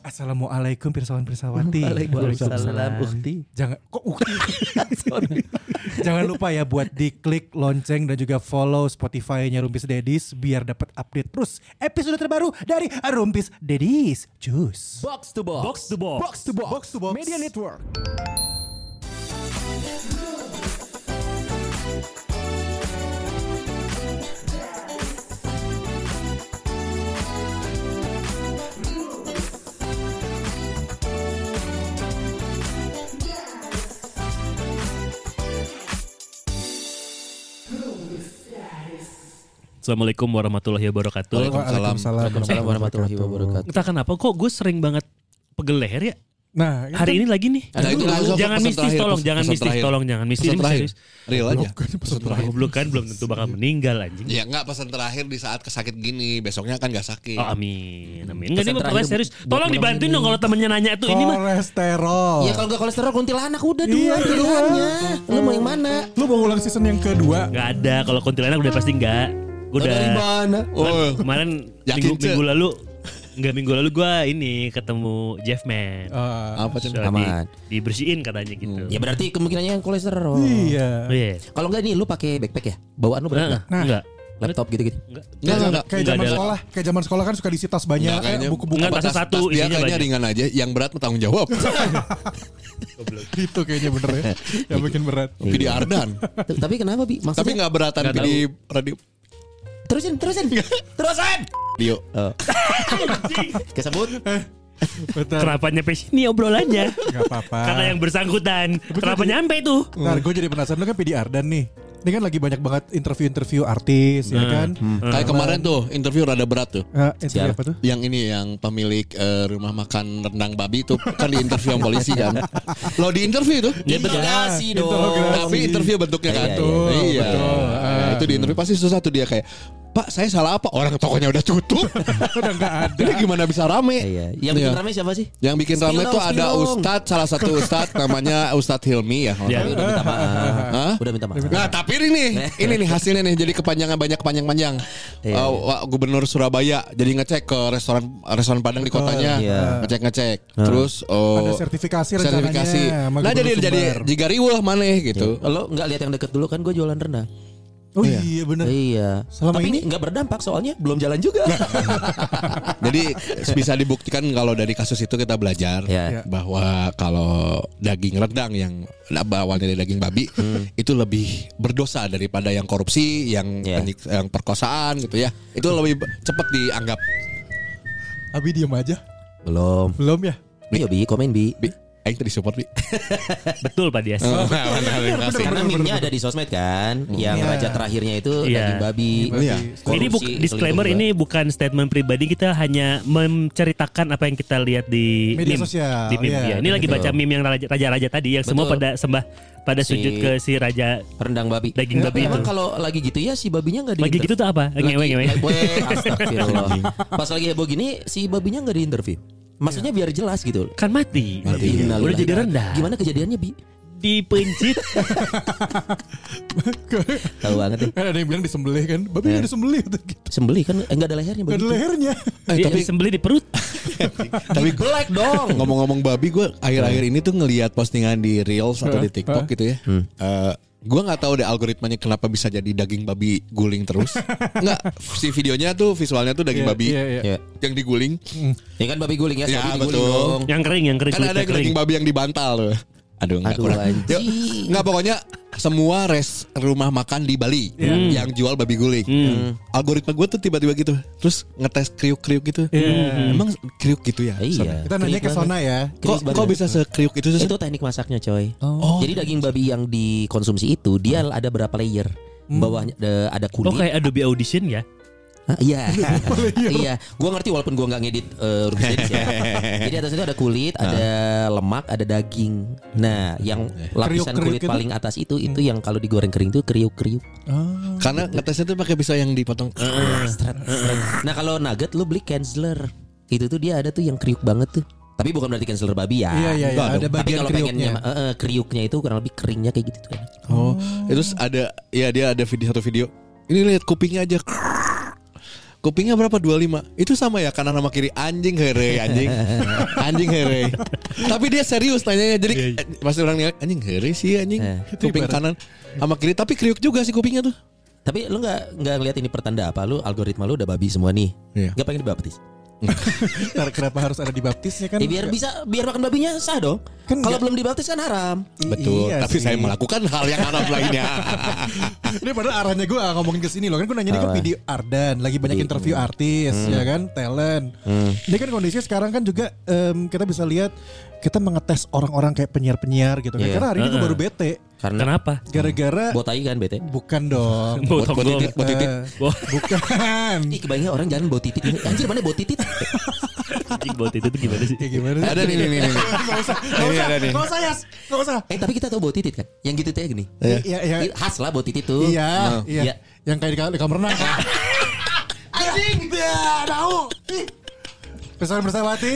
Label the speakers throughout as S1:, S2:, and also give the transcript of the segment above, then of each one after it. S1: Assalamualaikum Pirsawan Pirsawati.
S2: Waalaikumsalam Ukti.
S1: Jangan kok ukti. Jangan lupa ya buat diklik lonceng dan juga follow Spotify-nya Rumpis Dedis biar dapat update terus episode terbaru dari Rumpis Dedis. Cus.
S3: Box to box.
S2: Box to box.
S3: Box to box.
S1: Box to box.
S3: Media network.
S2: Assalamualaikum warahmatullahi wabarakatuh.
S3: Waalaikumsalam warahmatullahi wabarakatuh.
S2: Entah kenapa kok gue sering banget pegel leher ya.
S1: Nah, itu-
S2: Hari ini lagi nih.
S4: Nah, itu langsung
S2: jangan
S4: pesan
S2: mistis
S4: terakhir,
S2: tolong,
S4: pesan
S2: jangan
S4: terakhir.
S2: mistis tolong, jangan mistis.
S4: Pesan
S2: Ini
S4: terakhir.
S2: serius.
S4: Real aja.
S1: pesan terakhir.
S2: Goblok kan belum tentu bakal meninggal anjing.
S4: Ya enggak pesan terakhir di saat kesakit gini, besoknya kan enggak sakit.
S2: Oh, amin. Amin. Enggak
S3: Pesan
S2: ini mah
S3: terakhir
S2: pokoknya serius.
S3: buat
S2: Tolong
S3: malam
S2: dibantuin
S3: ini.
S2: dong kalau temennya nanya tuh ini mah.
S1: Kolesterol.
S3: Ya kalau gak kolesterol kuntilanak udah
S1: Iya,
S3: dua
S1: dua.
S3: pilihannya. Lu mau yang mana?
S1: Lu mau ulang season yang kedua?
S2: Enggak ada kalau kuntilanak udah pasti enggak. Gua udah
S4: Dari mana? Oh.
S2: kemarin
S4: Yakin,
S2: minggu,
S4: Ce?
S2: minggu lalu enggak minggu lalu gua ini ketemu Jeff
S1: Eh,
S2: Man.
S4: Apa sih?
S2: Soalnya di-
S3: Aman.
S2: dibersihin katanya gitu.
S3: Ya
S4: Iya,
S3: berarti kemungkinannya yang kolesterol.
S1: iya.
S2: Iya.
S3: Kalau enggak nih lu pakai backpack ya? Bawaan lu
S2: Nah,
S3: berat enggak?
S1: Nah.
S2: enggak.
S3: Laptop gitu-gitu.
S2: Enggak.
S4: Enggak, enggak,
S3: Iya,
S4: enggak.
S1: Kayak
S2: Enggak
S1: zaman
S2: ada-
S1: sekolah, kayak zaman sekolah kan suka diisi tas banyak,
S4: Enggak, kayaknya-
S1: eh, buku-buku
S2: Enggak, tasnya
S4: Tas-
S2: satu,
S4: tas dia
S2: isinya
S4: kayaknya
S2: banyak.
S4: ringan aja, yang berat mah tanggung jawab.
S1: itu kayaknya bener ya. Yang bikin berat.
S4: Pidi Ardan.
S3: T- Tapi kenapa Bi? Maksudnya
S4: Tapi enggak beratan
S2: Enggak
S4: Pidi Radio.
S3: terusin terusin. terusin.
S4: Dio.
S3: Kesebut.
S1: Betul.
S2: Kenapa nyampe sini obrolannya?
S1: Gak apa-apa.
S2: Karena yang bersangkutan. Kenapa nyampe tuh?
S1: Nah, gue jadi penasaran lu kan PD Ardan nih. Ini kan lagi banyak banget interview-interview artis ya kan.
S4: Kayak kemarin tuh interview rada berat tuh.
S1: Eh, interview
S3: Siapa?
S1: apa tuh?
S4: Yang ini yang pemilik eh, rumah makan rendang babi itu kan di interview sama polisi kan. Lo di interview tuh.
S3: Ya interogasi dong.
S1: interogasi.
S4: Tapi interview bentuknya kan.
S3: Iya,
S1: iya, iya.
S4: Iya.
S1: Betul.
S4: Nah, Itu di interview pasti susah tuh dia kayak Pak, saya salah apa? Orang tokonya udah tutup.
S1: Udah nggak ada.
S4: Ini gimana bisa rame?
S3: Iya. Yang bikin
S4: Iya.
S3: rame siapa sih?
S4: Yang bikin rame
S3: Spilong,
S4: tuh ada
S3: spilong.
S4: ustadz, salah satu ustadz namanya Ustadz Hilmi ya. kalau
S2: Iya.
S4: nggak
S3: Tapi udah minta
S4: Hah?
S3: maaf. Udah minta maaf.
S4: Nah tapi ini Ini nih hasilnya nih Jadi kepanjangan banyak panjang-panjang
S3: Iya.
S4: Uh, wa- Gubernur Surabaya Jadi ngecek ke restoran Restoran Padang di kotanya
S3: Iya.
S4: Ngecek-ngecek Terus oh,
S1: Ada sertifikasi
S4: sertifikasi.
S1: rencananya sama
S4: Nah jadi
S1: Gubernur
S4: jadi
S1: Sumbar.
S4: Jika riweh maneh gitu
S3: Lo nggak lihat yang deket dulu kan gue jualan rendah.
S1: Oh iya bener.
S3: Iya.
S1: Selama
S3: Tapi
S1: ini?
S3: nggak berdampak soalnya belum jalan juga.
S4: Jadi bisa dibuktikan Kalau dari kasus itu kita belajar
S3: Iya.
S4: Bahwa Kalau daging rendang Yang awalnya dari daging babi Itu lebih berdosa Daripada yang korupsi Yang,
S3: Iya.
S4: penyik- yang perkosaan gitu ya Itu lebih cepet dianggap
S1: Abi diem aja.
S3: belum.
S1: Belum ya?
S3: Iya bi, komen bi.
S4: Bi, Aing tadi support Bi
S2: Betul Pak Dias.
S3: Karena meme-nya ada di sosmed kan, yang
S1: Iya.
S3: raja terakhirnya itu
S2: Iya.
S3: daging babi.
S4: Iya.
S1: Korupsi,
S2: ini buk- disclaimer ini bukan statement pribadi kita hanya menceritakan apa yang kita lihat di
S1: Media
S2: meme.
S1: sosial,
S2: Di meme,
S1: iya.
S2: ya. Ini lagi
S3: Betul.
S2: baca meme yang raja- raja-raja tadi yang semua
S3: Betul.
S2: pada sembah pada
S3: Si-
S2: sujud ke si raja
S3: rendang babi.
S2: Daging
S3: Tapi
S2: babi
S3: emang
S2: itu.
S3: kalau lagi gitu ya si babinya nggak di
S2: lagi gitu tuh apa? Ngewe ngewe.
S3: Astagfirullah. Pas lagi heboh gini si babinya nggak di interview. Maksudnya biar jelas gitu.
S2: Kan mati.
S4: Iya.
S3: Innalillahi.
S2: Udah jadi rendah.
S3: Gimana kejadiannya bi?
S2: Dipencit.
S3: Tahu banget deh.
S1: Kan ada yang bilang disembelih kan. Babi nggak disembelih tuh gitu.
S3: Sembelih kan eh, nggak ada lehernya
S1: Gak
S3: babi.
S1: ada
S3: itu.
S1: lehernya.
S4: Eh,
S2: Dia
S4: tapi
S2: disembelih di perut.
S4: tapi
S3: Black dong. Hmm.
S4: ngomong-ngomong babi gue akhir-akhir ini tuh ngelihat postingan di Reels atau
S1: Hmm.
S4: di TikTok gitu ya. Eh, gue nggak tahu deh algoritmanya kenapa bisa jadi daging babi guling terus. Nggak si videonya tuh visualnya tuh daging
S1: Iya,
S4: babi
S1: iya, iya. Hmm.
S3: Ya.
S4: yang diguling.
S3: Ya kan babi guling ya, si
S4: Ya,
S3: babi diguling
S4: betul.
S3: dong.
S2: Yang kering, yang kering.
S4: Kan ada
S2: kulitnya
S4: yang daging babi yang dibantal tuh. Aduh nggak
S3: Aduh,
S4: kurang.
S3: anjing.
S4: Yuk, Nggak pokoknya semua res rumah makan di Bali
S1: Iya. Hmm.
S4: yang jual babi guling.
S3: Hmm.
S4: Hmm. Algoritma gue tuh tiba-tiba gitu. Terus ngetes kriuk-kriuk gitu.
S1: Iya.
S4: Emang kriuk gitu ya?
S3: Iya.
S1: Kita nanya ke
S3: Kering
S1: Sona ya.
S3: Kriuk
S4: Kok,
S3: banget.
S4: kok bisa sekriuk itu sih?
S3: Itu teknik masaknya coy.
S1: Oh.
S2: Oh,
S3: Jadi
S2: iya,
S3: daging babi yang dikonsumsi itu dia
S1: Hmm.
S3: ada berapa layer? Bawahnya ada- ada
S2: Oh
S3: kulit.
S2: kayak Adobe Audition ya?
S3: Hah, Iya. Iya, gua ngerti walaupun gua nggak ngedit eh, Rubis Dedis ya. Jadi atas itu ada kulit,
S1: Ah.
S3: ada lemak, ada daging. Nah, yang
S1: Eh.
S3: lapisan
S1: Kriuk-kriuk
S3: kulit
S1: itu? Hmm.
S3: paling atas itu itu yang kalau digoreng kering itu kriuk-kriuk.
S4: Karena ngetesnya tuh pakai pisau yang dipotong.
S3: Stret, stret. Nah, kalau nugget lu beli canceler. Itu tuh dia ada tuh yang kriuk banget tuh. Tapi bukan berarti canceler babi
S1: Iya
S3: ya.
S1: iya iya.
S4: Enggak
S1: Ada
S4: dong.
S3: Tapi
S1: bagian
S3: kalau pengennya
S1: kriuknya.
S3: eh, eh, kriuknya itu kurang lebih keringnya kayak gitu tuh enak.
S4: Oh, terus ada ya dia ada video satu video. Ini lihat kupingnya aja. Kupingnya berapa? 25 Itu sama ya kanan sama kiri Anjing here anjing Anjing here Tapi dia serius nanyanya Jadi
S2: Iya, iya.
S4: eh, pasti orang nilai Anjing here sih anjing
S3: Eh.
S4: Kuping kanan sama kiri Tapi kriuk juga sih kupingnya tuh
S3: Tapi lu nggak nggak ngeliat ini pertanda apa? Lu algoritma lu udah babi semua nih.
S4: Iya.
S3: Nggak pengen dibaptis?
S1: Iya. Ntar kenapa harus ada dibaptisnya kan?
S3: Eh, biar bisa biar makan babinya sah dong.
S1: Kan
S3: Kalau
S1: nggak-
S3: belum dibaptis kan haram.
S1: I-
S4: Betul
S1: iya
S4: Tapi
S1: sih.
S4: saya melakukan hal yang haram lainnya
S1: Ini padahal arahnya gue ngomongin ke sini loh. Kan gue nanya ini kan video Ardan lagi banyak interview
S4: hmm.
S1: artis ya kan, talent. Ini kan kondisinya sekarang kan juga em, kita bisa lihat kita mengetes orang-orang kayak penyiar-penyiar gitu kan.
S3: Iya.
S1: Karena hari ini gue baru bete
S3: Karena
S2: Kenapa?
S1: gara-gara
S3: botai kan bete.
S1: bukan dong.
S2: Bau
S4: Buat- buat
S2: tonggol.
S4: titik, buat titik.
S1: Eh,
S2: Wah.
S1: bukan.
S3: Ih kebayangnya orang jalan bau titit. Anjir mana bau titit? Eh,
S2: Anjing, bau titik itu gimana sih?
S1: Ya gimana sih?
S4: Ada nih nih nih, nih.
S1: Gak usah, gak
S4: Ini
S1: usah,
S4: ada nih.
S1: gak usah, Yas. Gak usah.
S3: Eh tapi kita tahu bau titit kan? Yang gitu teh gini.
S1: Iya, iya,
S3: Ih, Khas lah bau titit tuh.
S1: iya,
S3: Nah,
S1: iya. Yang kayak di, ka- di kamar renang. Anjing, dah, tahu. Pesan bersawati,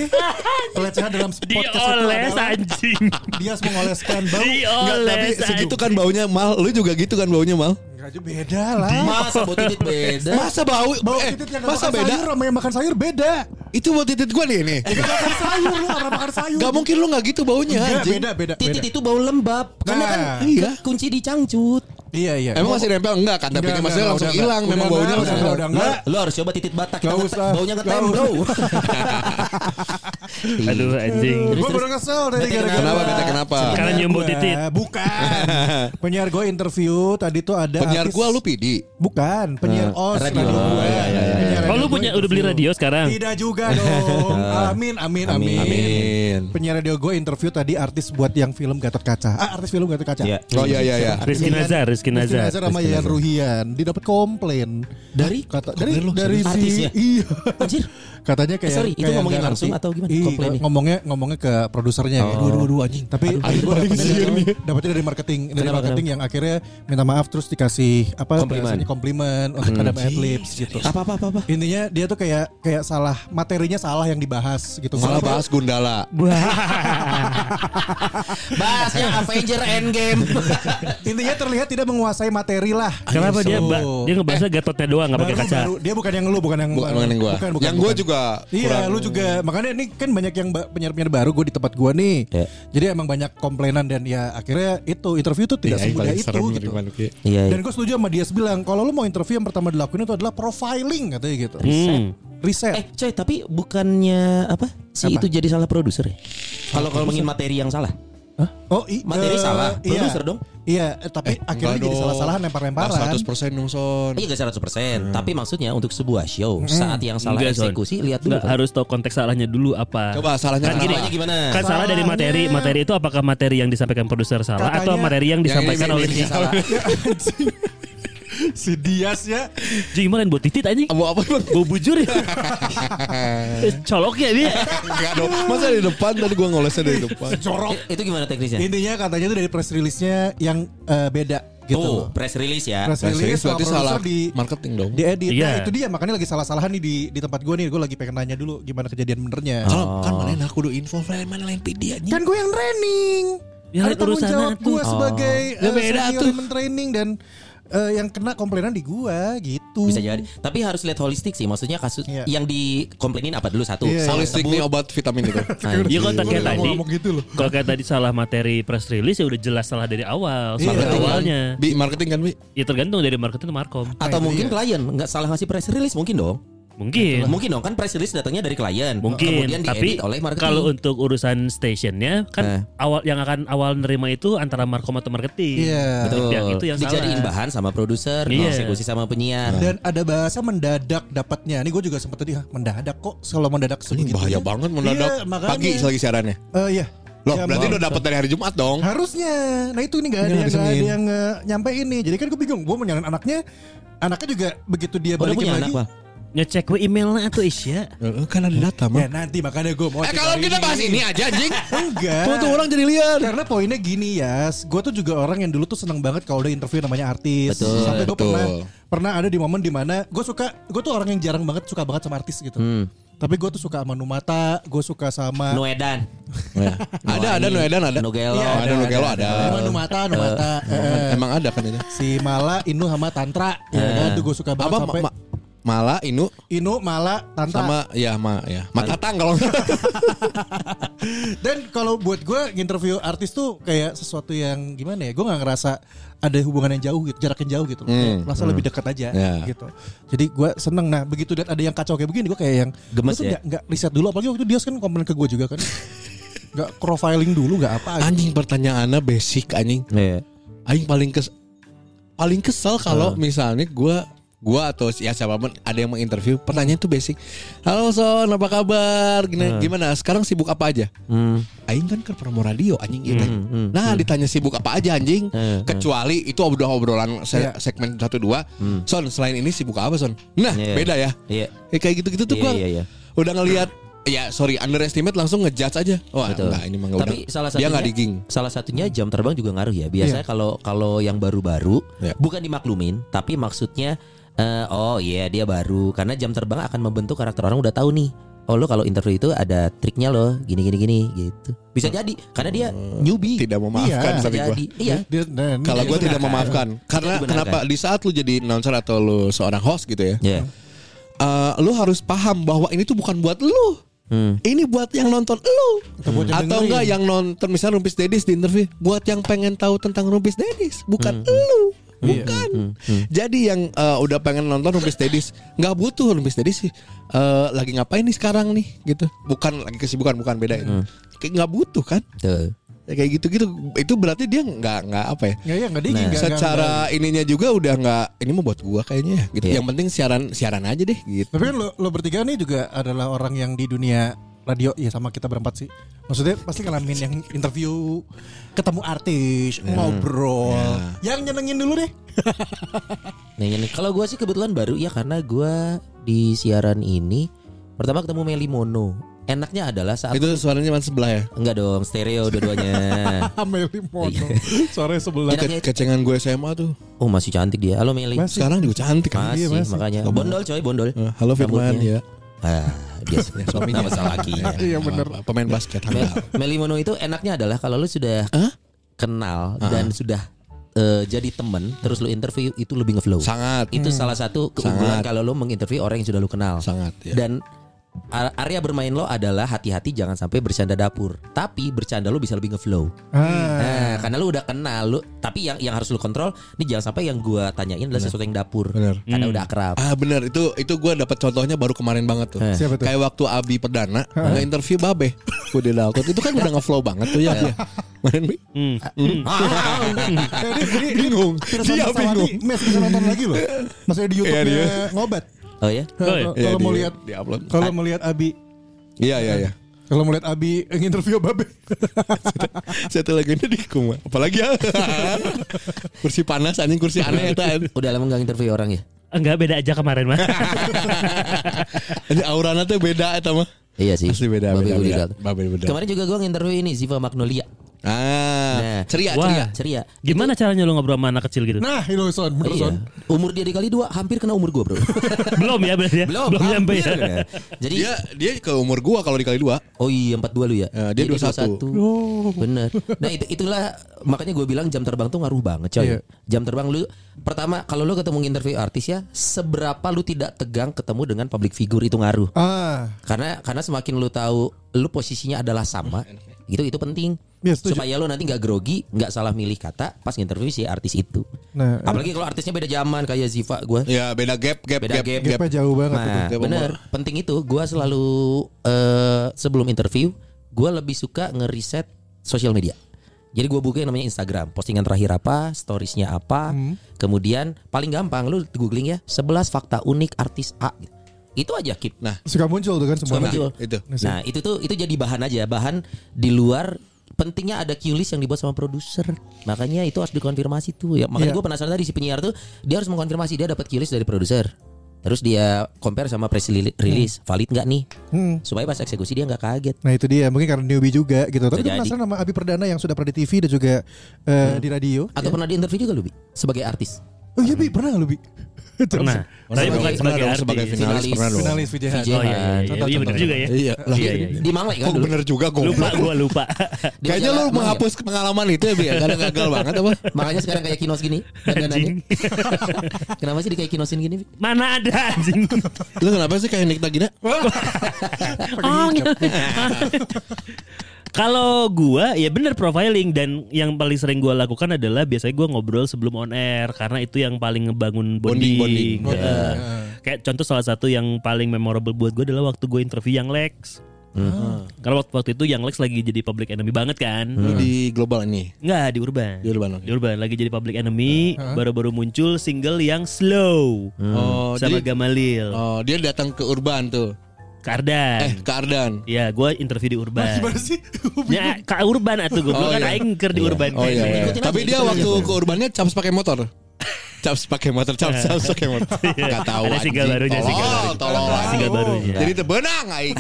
S1: pelecehan dalam podcast itu
S2: Dioles
S1: adalah
S2: anjing.
S1: dia mengoleskan bau.
S4: Enggak, tapi
S2: Dioles
S4: segitu kan baunya mal Lu juga gitu kan baunya mal
S1: Enggak juga beda lah.
S3: Masa bau titit beda?
S4: Masa bau,
S1: Bau
S4: eh,
S1: titit yang nggak
S4: Masa
S1: makan
S4: beda
S1: sayur Eh, sama yang makan sayur beda.
S4: Itu bau titit gue nih nih
S1: Yang makan sayur lu orang makan sayur.
S4: Gak mungkin lu gak gitu baunya
S1: Enggak,
S4: anjing
S1: beda, beda, beda.
S3: Titit itu bau lembab. Karena
S1: Nah,
S3: kan
S4: iya.
S3: kunci dicangcut.
S1: Iya, iya.
S4: Emang masih nempel enggak kan tapi
S1: Enggak,
S4: maksudnya
S1: enggak,
S4: langsung
S1: udah
S4: hilang
S1: enggak.
S4: memang
S1: Udah
S4: baunya
S1: enggak,
S4: langsung
S1: udah
S4: hilang.
S1: enggak.
S3: Lu, Nah, lu harus coba titit batak.
S1: Nggak
S3: Kita ngetem-
S1: usah.
S3: Baunya ngetem
S1: Nggak
S3: bro.
S2: Aduh anjing.
S1: Gue baru kesel tadi
S3: Bete
S1: gara-gara.
S4: Kenapa bete kenapa?
S1: Penyiar
S2: Karena nyium bau
S1: gua.
S2: titit.
S1: Bukan. Penyiar gue interview tadi tuh ada
S4: Penyiar
S1: artis-
S4: gua lu Eh, pidi.
S1: Bukan, penyiar OS
S3: radio.
S1: gua.
S3: Oh, iya, iya, iya.
S1: Penyiar
S2: Oh, lu
S1: radio
S2: punya-
S1: gua
S2: udah beli
S1: interview.
S2: radio sekarang?
S1: Tidak juga dong. amin, amin, amin.
S4: Eh, Amin.
S1: Penyiar radio gue interview tadi artis buat yang film Gatot Kaca. Ah, artis film Gatot Kaca.
S3: Iya.
S4: Oh iya iya iya.
S2: Rizky Nazar, Rizky Nazar.
S1: sama Yayan Ruhian didapat komplain
S3: Dari?
S1: kata dari
S3: Komplain lu,
S1: dari si
S2: ya?
S3: artisnya?
S1: iya
S3: Anjir.
S1: katanya kayak
S3: Eh, sorry, itu
S1: kayak
S3: ngomongin
S1: nggak
S3: langsung
S1: ngerti.
S3: atau gimana?
S1: Iya,
S3: Komplainnya?
S1: ngomongnya ngomongnya ke produsernya kayak dua dua dua anjing tapi gue dapetnya dari marketing dari
S3: Kenapa,
S1: marketing yang akhirnya minta maaf terus dikasih apa
S3: Komplimen.
S1: bahasanya, komplimen untuk Adam Adlibs gitu
S3: Apa apa apa apa.
S1: intinya dia tuh kayak kayak salah materinya salah yang dibahas gitu
S4: Malah
S1: Kenapa?
S4: bahas Gundala.
S3: Bahasnya Avenger Endgame.
S1: intinya terlihat tidak menguasai materi lah
S2: Kenapa
S1: Gitu.
S2: dia ba- dia ngebahasnya gatotnya doang nggak pakai
S1: Baru-
S2: kaca?
S1: baru- dia bukan yang lu, bukan yang
S4: Bukan, bukan yang gua. Yang gua juga
S1: Iya,
S4: kurang-
S1: lu juga. Makanya ini kan banyak yang ba- penyiar-penyiar baru gue di tempat gua nih.
S3: Iya.
S1: Jadi emang banyak komplainan dan ya akhirnya itu interview tuh tidak semudah itu gitu.
S3: Iya.
S1: Dan gue setuju sama dia bilang kalau lu mau interview yang pertama dilakuin itu adalah profiling katanya gitu.
S2: Hmm.
S1: Riset.
S3: Eh, coy, tapi bukannya apa? Si
S1: Apa?
S3: itu jadi salah produser ya? Kalau kalau ngomongin materi yang salah.
S1: Oh, i- eh,
S3: Materi salah.
S1: iya.
S3: Produser dong.
S1: Iya, eh, tapi akhirnya jadi salah-salahan lempar-lemparan.
S4: 100% dong Son.
S3: Iya, gak 100%,
S1: Hmm.
S3: tapi maksudnya untuk sebuah show saat yang salah
S2: Enggak, Son.
S3: eksekusi lihat dulu.
S2: Nggak,
S3: kan.
S2: harus tahu konteks salahnya dulu apa.
S4: Coba salahnya
S2: kan gini,
S3: Salahnya gimana?
S2: Kan salah dari materi. Materi itu apakah materi yang disampaikan produser salah
S1: Katanya-
S2: atau materi yang disampaikan
S4: ini,
S2: oleh
S4: ini,
S2: si
S4: ini.
S2: salah?
S1: si Dias ya.
S2: Jadi gimana buat titit anjing?
S4: Mau apa Bang?
S2: Bau bujur ya? Colok ya dia.
S4: Enggak dong. Masa di depan tadi gua ngolesnya dari depan.
S1: Jorok.
S3: Eh, Itu gimana teknisnya?
S1: Intinya katanya itu dari press release-nya yang eh, beda gitu.
S3: Tuh, press release ya.
S1: press release sama
S4: berarti salah
S1: produser di
S4: marketing dong.
S1: di edit.
S2: Iya.
S1: Nah, itu dia makanya lagi salah-salahan nih di di tempat gue nih. Gue lagi pengen nanya dulu gimana kejadian benernya.
S4: Kalau kan mana yang aku do info, lain mana lain PD anjing.
S1: Kan gue yang training.
S2: Ya,
S1: Ada tanggung
S2: urusannya
S1: jawab
S2: tuh.
S1: gue sebagai
S4: Ya,
S1: eh,
S4: beda
S1: senior
S4: tuh.
S1: human training dan eh, yang kena komplainan di gue gitu.
S3: Bisa jadi. Tapi harus lihat holistik sih. Maksudnya kasus
S1: Iya.
S3: yang dikomplainin apa dulu satu. Nah, gitu.
S1: Iya, iya.
S3: Salah
S4: Holistik
S3: sebut.
S4: nih obat vitamin itu.
S3: Anjing.
S2: Iya kan kayak
S1: Ngomong-
S2: tadi.
S1: ngomong gitu loh.
S2: Kalau kayak tadi salah materi press release ya udah jelas salah dari awal, salah
S1: Marketing kan?
S2: awalnya.
S4: Bi marketing kan Bi?
S2: Ya tergantung dari marketing atau markom.
S3: Atau
S1: Nah,
S3: mungkin
S1: iya.
S3: klien nggak salah ngasih press release mungkin dong.
S2: Mungkin.
S3: Mungkin dong kan press release datangnya dari klien.
S2: Iya. Mungkin,
S3: Kemudian
S2: tapi
S3: diedit oleh marketing.
S2: kalau untuk urusan stationnya kan
S3: Nah.
S2: awal yang akan awal nerima itu antara markom atau marketing.
S1: Iya.
S3: Betul.
S2: Ya, itu yang
S3: Dijadiin
S2: salah.
S3: bahan sama produser,
S2: Iya.
S3: dieksekusi sama penyiar.
S4: Nah.
S1: Dan ada bahasa mendadak dapatnya. Ini gue juga sempat tadi "Hah, mendadak kok kalau mendadak
S4: Anjing,
S1: sebegitu.
S4: bahaya banget mendadak
S1: Iya, makanya.
S4: pagi lagi siarannya.
S1: Eh, iya.
S4: Loh,
S1: Jam-
S4: berarti udah dapat dari hari Jumat dong.
S1: Harusnya. Nah itu ini gak ada,
S4: Ini
S1: yang,
S4: hari
S1: nggak ada
S4: Senin.
S1: yang eh, nyampe ini. Jadi kan gue bingung. Gue menyalain anaknya. Anaknya juga begitu dia
S3: Oh, udah
S1: balikin
S3: punya
S1: lagi.
S3: anak, Wal?
S2: Ngecek we emailnya atau Isya.
S4: Heeh, kan ada data,
S1: ya nanti makanya gue mau.
S4: Eh
S1: cek
S4: kalau
S1: hari
S4: kita bahas ini aja anjing.
S1: Enggak.
S4: Tuh tuh orang jadi liar.
S1: Karena poinnya gini ya, gue tuh juga orang yang dulu tuh seneng banget kalau udah interview namanya artis.
S3: Betul,
S1: Sampai gue
S4: betul.
S1: pernah pernah ada di momen dimana gue suka, gue tuh orang yang jarang banget suka banget sama artis gitu.
S4: Hmm.
S1: Tapi gue tuh suka sama Numata, gue suka sama
S3: Noedan.
S4: Nah. Ada ada Noedan ada.
S3: Nogelo.
S1: Iya,
S4: ada Nogelo ada.
S1: sama Numata, Numata, eh,
S4: Emang ada kan itu?
S1: si Mala, Inu sama Tantra. Ya kan, tuh gue suka banget
S4: Apa
S1: sampai
S4: Eh. ma- ma- Mala, Inu,
S1: Inu, Mala, Tanta.
S4: sama ya ma ya Matatang kalau
S1: Dan kalau buat gue interview artis tuh kayak sesuatu yang gimana ya? Gue nggak ngerasa ada hubungan yang jauh gitu, jarak yang jauh gitu. loh. Kayak
S4: Hmm.
S1: Rasa lebih dekat aja
S4: Ya.
S1: gitu. Jadi gue seneng. Nah begitu dan ada yang kacau kayak begini, gue kayak yang gua
S3: Gemes
S1: tuh
S3: ya?
S1: nggak- Nggak riset dulu, apalagi waktu itu dia kan komplain ke gue juga kan. Nggak profiling dulu, nggak apa. gitu.
S4: anjing pertanyaannya basic anjing.
S3: Iya.
S4: Aing paling kes paling kesel
S3: Ah.
S4: kalau misalnya gua gua atau ya siapapun ada yang menginterview pertanyaan itu basic. Halo Son, apa kabar? Gimana, gimana? Sekarang sibuk apa aja?
S3: Ah. Hmm.
S4: Aing kan ke promo radio anjing gitu.
S3: hmm,
S4: nah, ditanya sibuk apa aja anjing?
S3: Hmm,
S4: Kecuali itu udah obrolan se-
S1: Iya.
S4: segmen 1 2. Son, selain ini sibuk apa, Son? Nah,
S3: Hmm. Iya.
S4: beda ya.
S3: Iya.
S4: Eh, kayak gitu-gitu tuh
S3: Iya,
S4: gua.
S3: iya, iya.
S4: Udah ngelihat ya sorry underestimate langsung ngejudge aja. Wah,
S3: Betul.
S4: enggak ini mah enggak
S3: Tapi
S4: udah.
S3: salah
S4: Dia
S3: satunya
S4: enggak Hmm. diging.
S3: Salah satunya jam terbang juga ngaruh ya. Biasanya kalau kalau yang baru-baru
S4: Iya.
S3: bukan dimaklumin, tapi maksudnya eh, oh iya dia baru karena jam terbang akan membentuk karakter orang udah tahu nih. Oh lo kalau interview itu ada triknya lo gini gini gini gitu. Bisa jadi karena dia newbie.
S4: Tidak memaafkan
S1: Iya,
S3: Bisa
S4: Hmm. tapi gua.
S3: jadi. Iya.
S1: Dia, dan,
S4: Kalau
S3: Tidak
S4: gue tidak
S3: dibenarkan.
S4: memaafkan Karena
S3: dibenarkan.
S4: kenapa
S1: kan?
S4: Di saat lu jadi announcer Atau lu seorang host gitu ya
S3: Iya.
S4: eh, Lu harus paham Bahwa ini tuh bukan buat lu
S3: Hmm.
S4: Ini buat yang nonton lu
S1: Atau buat yang
S4: Atau
S1: dengerin.
S4: enggak yang nonton Misalnya Rumpis Dedis di interview Buat yang pengen tahu tentang Rumpis Dedis
S1: Hmm,
S4: Bukan lu
S1: Iya,
S4: Bukan Jadi yang eh, udah pengen nonton Rumpis Dedis nggak butuh Rumpis Dedis sih eh, Lagi ngapain nih sekarang nih gitu Bukan lagi kesibukan Bukan beda
S1: Hmm.
S4: ini Kayak nggak butuh kan
S3: Tuh.
S4: Kayak gitu-gitu Itu berarti dia nggak nggak apa ya
S1: nggak ya nggak dingin, nggak- nggak-
S4: secara ininya juga udah nggak ini mau buat gua kayaknya ya gitu.
S3: Iya.
S4: Yang penting siaran siaran aja deh gitu.
S1: Tapi kan lo, lo bertiga nih juga adalah orang yang di dunia radio ya sama kita berempat sih. Maksudnya pasti ngalamin yang interview, ketemu artis, ngobrol, yang nyenengin dulu deh.
S3: Nah, ini- kalau gua sih kebetulan baru ya karena gua di siaran ini pertama ketemu Meli Mono. Enaknya adalah saat
S4: Itu suaranya cuma sebelah ya.
S3: enggak dong stereo dua-duanya.
S1: Ameli Mono, sore sebelah.
S3: Enaknya itu-
S4: Kecengan gue SMA tuh.
S3: Oh masih cantik dia. Halo Meli.
S1: Masih.
S4: Sekarang juga cantik kan.
S3: Masih,
S4: Iya, Mas.
S3: makanya bondol coy bondol.
S4: Eh, Halo Firman
S3: Rambutnya.
S4: ya.
S3: Ah, dia suaminya sama lakinya.
S1: Ya, Iya bener. Iya.
S4: Apa, Pemain basket.
S3: Mel,
S4: Enggak.
S3: Meli Mono itu enaknya adalah kalau lu sudah kenal dan sudah eh, jadi temen terus lu interview itu lebih ngeflow.
S4: Sangat.
S1: Iya.
S3: itu salah satu keunggulan
S4: Sangat.
S3: kalau lu menginterview orang yang sudah lu kenal.
S4: Sangat ya.
S3: Dan a- area bermain lo adalah hati-hati jangan sampai bercanda dapur. Tapi bercanda lu bisa lebih ngeflow.
S1: Ah,
S3: Nah, karena lu udah kenal lu, tapi yang yang harus lu kontrol, ini jangan sampai yang gua tanyain adalah sesuatu yang dapur.
S4: Bener.
S1: Iya.
S3: Karena udah akrab.
S4: Ah benar itu itu gue dapat contohnya baru kemarin banget tuh.
S3: Eh.
S1: Siapa tuh?
S4: Kayak waktu Abi Perdana nggak interview Babe. Gue di laut itu kan udah ngeflow banget tuh ya.
S1: Iya.
S4: dia. Kemarin Bi.
S2: Hmm.
S4: bingung. Dia bingung.
S1: Mes bisa nonton lagi loh. Maksudnya di YouTube
S4: Iya,
S1: nya ngobat.
S3: Oh ya?
S2: Oh, iya.
S1: Kalau
S4: Iya,
S1: kalau mau
S4: di-
S1: lihat,
S4: di-upload.
S1: kalau mau lihat Abi,
S4: Iya iya iya.
S1: kalau mau lihat Abi eh, interview Babe.
S4: Satu lagunya di kuma. Apalagi ya. kursi panas anjing kursi aneh eta.
S3: Udah lama gak interview orang ya?
S2: Enggak beda aja kemarin mah.
S4: Anjing aurana teh beda eta mah.
S3: Iya sih.
S4: Pasti beda,
S3: Babe
S4: beda,
S3: Budi
S4: beda.
S3: Gat.
S4: Babe beda.
S3: Kemarin juga gua nginterview ini Ziva Magnolia. Nah.
S4: Ah, ceria
S2: Wah.
S4: ceria.
S3: Ceria.
S2: Gimana caranya lu ngobrol sama anak kecil gitu?
S1: Nah, itu son, bener
S3: Iya.
S1: son.
S3: Umur dia dikali dua hampir kena umur gua, Bro.
S2: belum ya berarti ya?
S3: Belum, hampir.
S2: nyampe ya.
S3: Jadi
S4: Iya. Dia dia ke umur gua kalau dikali dua.
S3: Oh iya 42 lu ya.
S4: Ya, dia Oh. 21.
S3: Bener. Nah, itu itulah makanya gue bilang jam terbang tuh ngaruh banget, coy.
S1: Iya.
S3: Jam terbang lu pertama kalau lu ketemu interview artis ya, seberapa lu tidak tegang ketemu dengan public figure itu ngaruh.
S1: Ah,
S3: Karena karena semakin lu tahu lu posisinya adalah sama, gitu itu penting.
S1: Iya, setuju.
S3: supaya lu nanti nggak grogi, nggak salah milih kata pas interview si artis itu.
S1: Nah, eh.
S3: apalagi kalau artisnya beda zaman kayak Ziva
S1: Iya,
S3: gua.
S4: Ya beda gap gap
S3: Beda
S4: gap,
S3: gap.
S4: gap.
S1: gapnya jauh banget. itu.
S3: Nah,
S4: Gap
S3: bener penting itu. Gua selalu eh, sebelum interview, gua lebih suka ngeriset sosial media. Jadi gua buka yang namanya Instagram, postingan terakhir apa, storiesnya apa,
S1: Hmm.
S3: kemudian paling gampang lu googling ya 11 fakta unik artis A. gitu. Itu aja keep.
S4: Nah,
S1: Suka muncul tuh kan semua.
S3: Suka
S1: nanti.
S3: muncul.
S4: itu.
S3: Nah itu tuh itu jadi bahan aja, bahan di luar pentingnya ada cue list yang dibuat sama produser. Makanya itu harus dikonfirmasi tuh. Ya, makanya
S1: Iya.
S3: gue penasaran tadi si penyiar tuh dia harus mengkonfirmasi dia dapat cue list dari produser. Terus dia compare sama press reli-
S4: Iya.
S3: release valid nggak nih?
S1: Hmm.
S3: Supaya pas eksekusi dia nggak kaget.
S1: Nah itu dia mungkin karena newbie juga gitu. Tapi
S3: Bisa
S1: gue
S3: jadi. Hmm.
S1: penasaran sama Abi Perdana yang sudah pernah di TV dan juga eh, di radio.
S4: Iya.
S3: Atau pernah di interview juga lu Bi? sebagai artis.
S1: Oh iya Bi, pernah gak lu Bi?
S2: Pernah. Nah, Tapi
S4: Pernah
S2: bukan sebagai
S4: dong, pernah dong,
S2: artis.
S4: sebagai
S3: Iya.
S4: finalis,
S3: Finalis.
S4: pernah dong.
S1: Finalis VJ Hadi.
S3: VJ.
S2: Oh iya, iya, iya.
S1: Contoh,
S2: Iya bener
S1: contoh.
S2: juga ya.
S4: Iya, lah.
S2: Iya, iya.
S3: Di Mangwe kan
S4: Kok
S3: dulu. Iya,
S4: bener juga gue.
S2: Lupa gue lupa.
S3: Di
S4: Kayaknya lu
S3: majalah Mangwe.
S4: menghapus pengalaman itu ya, Bi. ya? Kadang gagal banget apa?
S3: Makanya sekarang kayak kinos gini.
S2: Anjing.
S3: dandanannya. Kenapa sih di kayak kinosin gini? Vic?
S2: Mana ada anjing.
S4: Lu kenapa sih kayak Nikta Gina?
S2: Oh, gitu. Kalau gua ya bener profiling dan yang paling sering gua lakukan adalah biasanya gua ngobrol sebelum on air karena itu yang paling ngebangun bonding.
S4: Bonding, bonding.
S2: Ya. Kayak contoh salah satu yang paling memorable buat gua adalah waktu gua interview yang Lex. Karena waktu, waktu itu yang Lex lagi jadi public enemy banget kan.
S4: Lu di global ini.
S2: Enggak di Urban.
S4: Di Urban, oke.
S2: Di Urban lagi jadi public enemy, baru-baru muncul single yang slow.
S4: Oh,
S2: sama
S4: jadi-
S2: Gamalil.
S4: Oh, dia datang ke Urban tuh. Eh,
S2: Kardan.
S4: ke Ardan.
S2: Ya, gua interview di Urban.
S1: Gimana sih?
S2: Ya, ke urban atau gue
S4: Oh,
S2: kan
S4: iya.
S2: aing ker di urban.
S4: Oh iya. iya.
S3: Ikutin
S4: Tapi
S3: aja,
S4: dia
S3: ikutin
S4: waktu
S3: aja.
S4: ke Urbannya caps pakai motor. Caps pakai motor, caps caps pakai motor. Enggak tahu
S2: Ada single
S4: anjing.
S2: barunya, single
S4: Tolol,
S2: barunya.
S4: tolol.
S2: Single barunya.
S4: Jadi tebenang aing.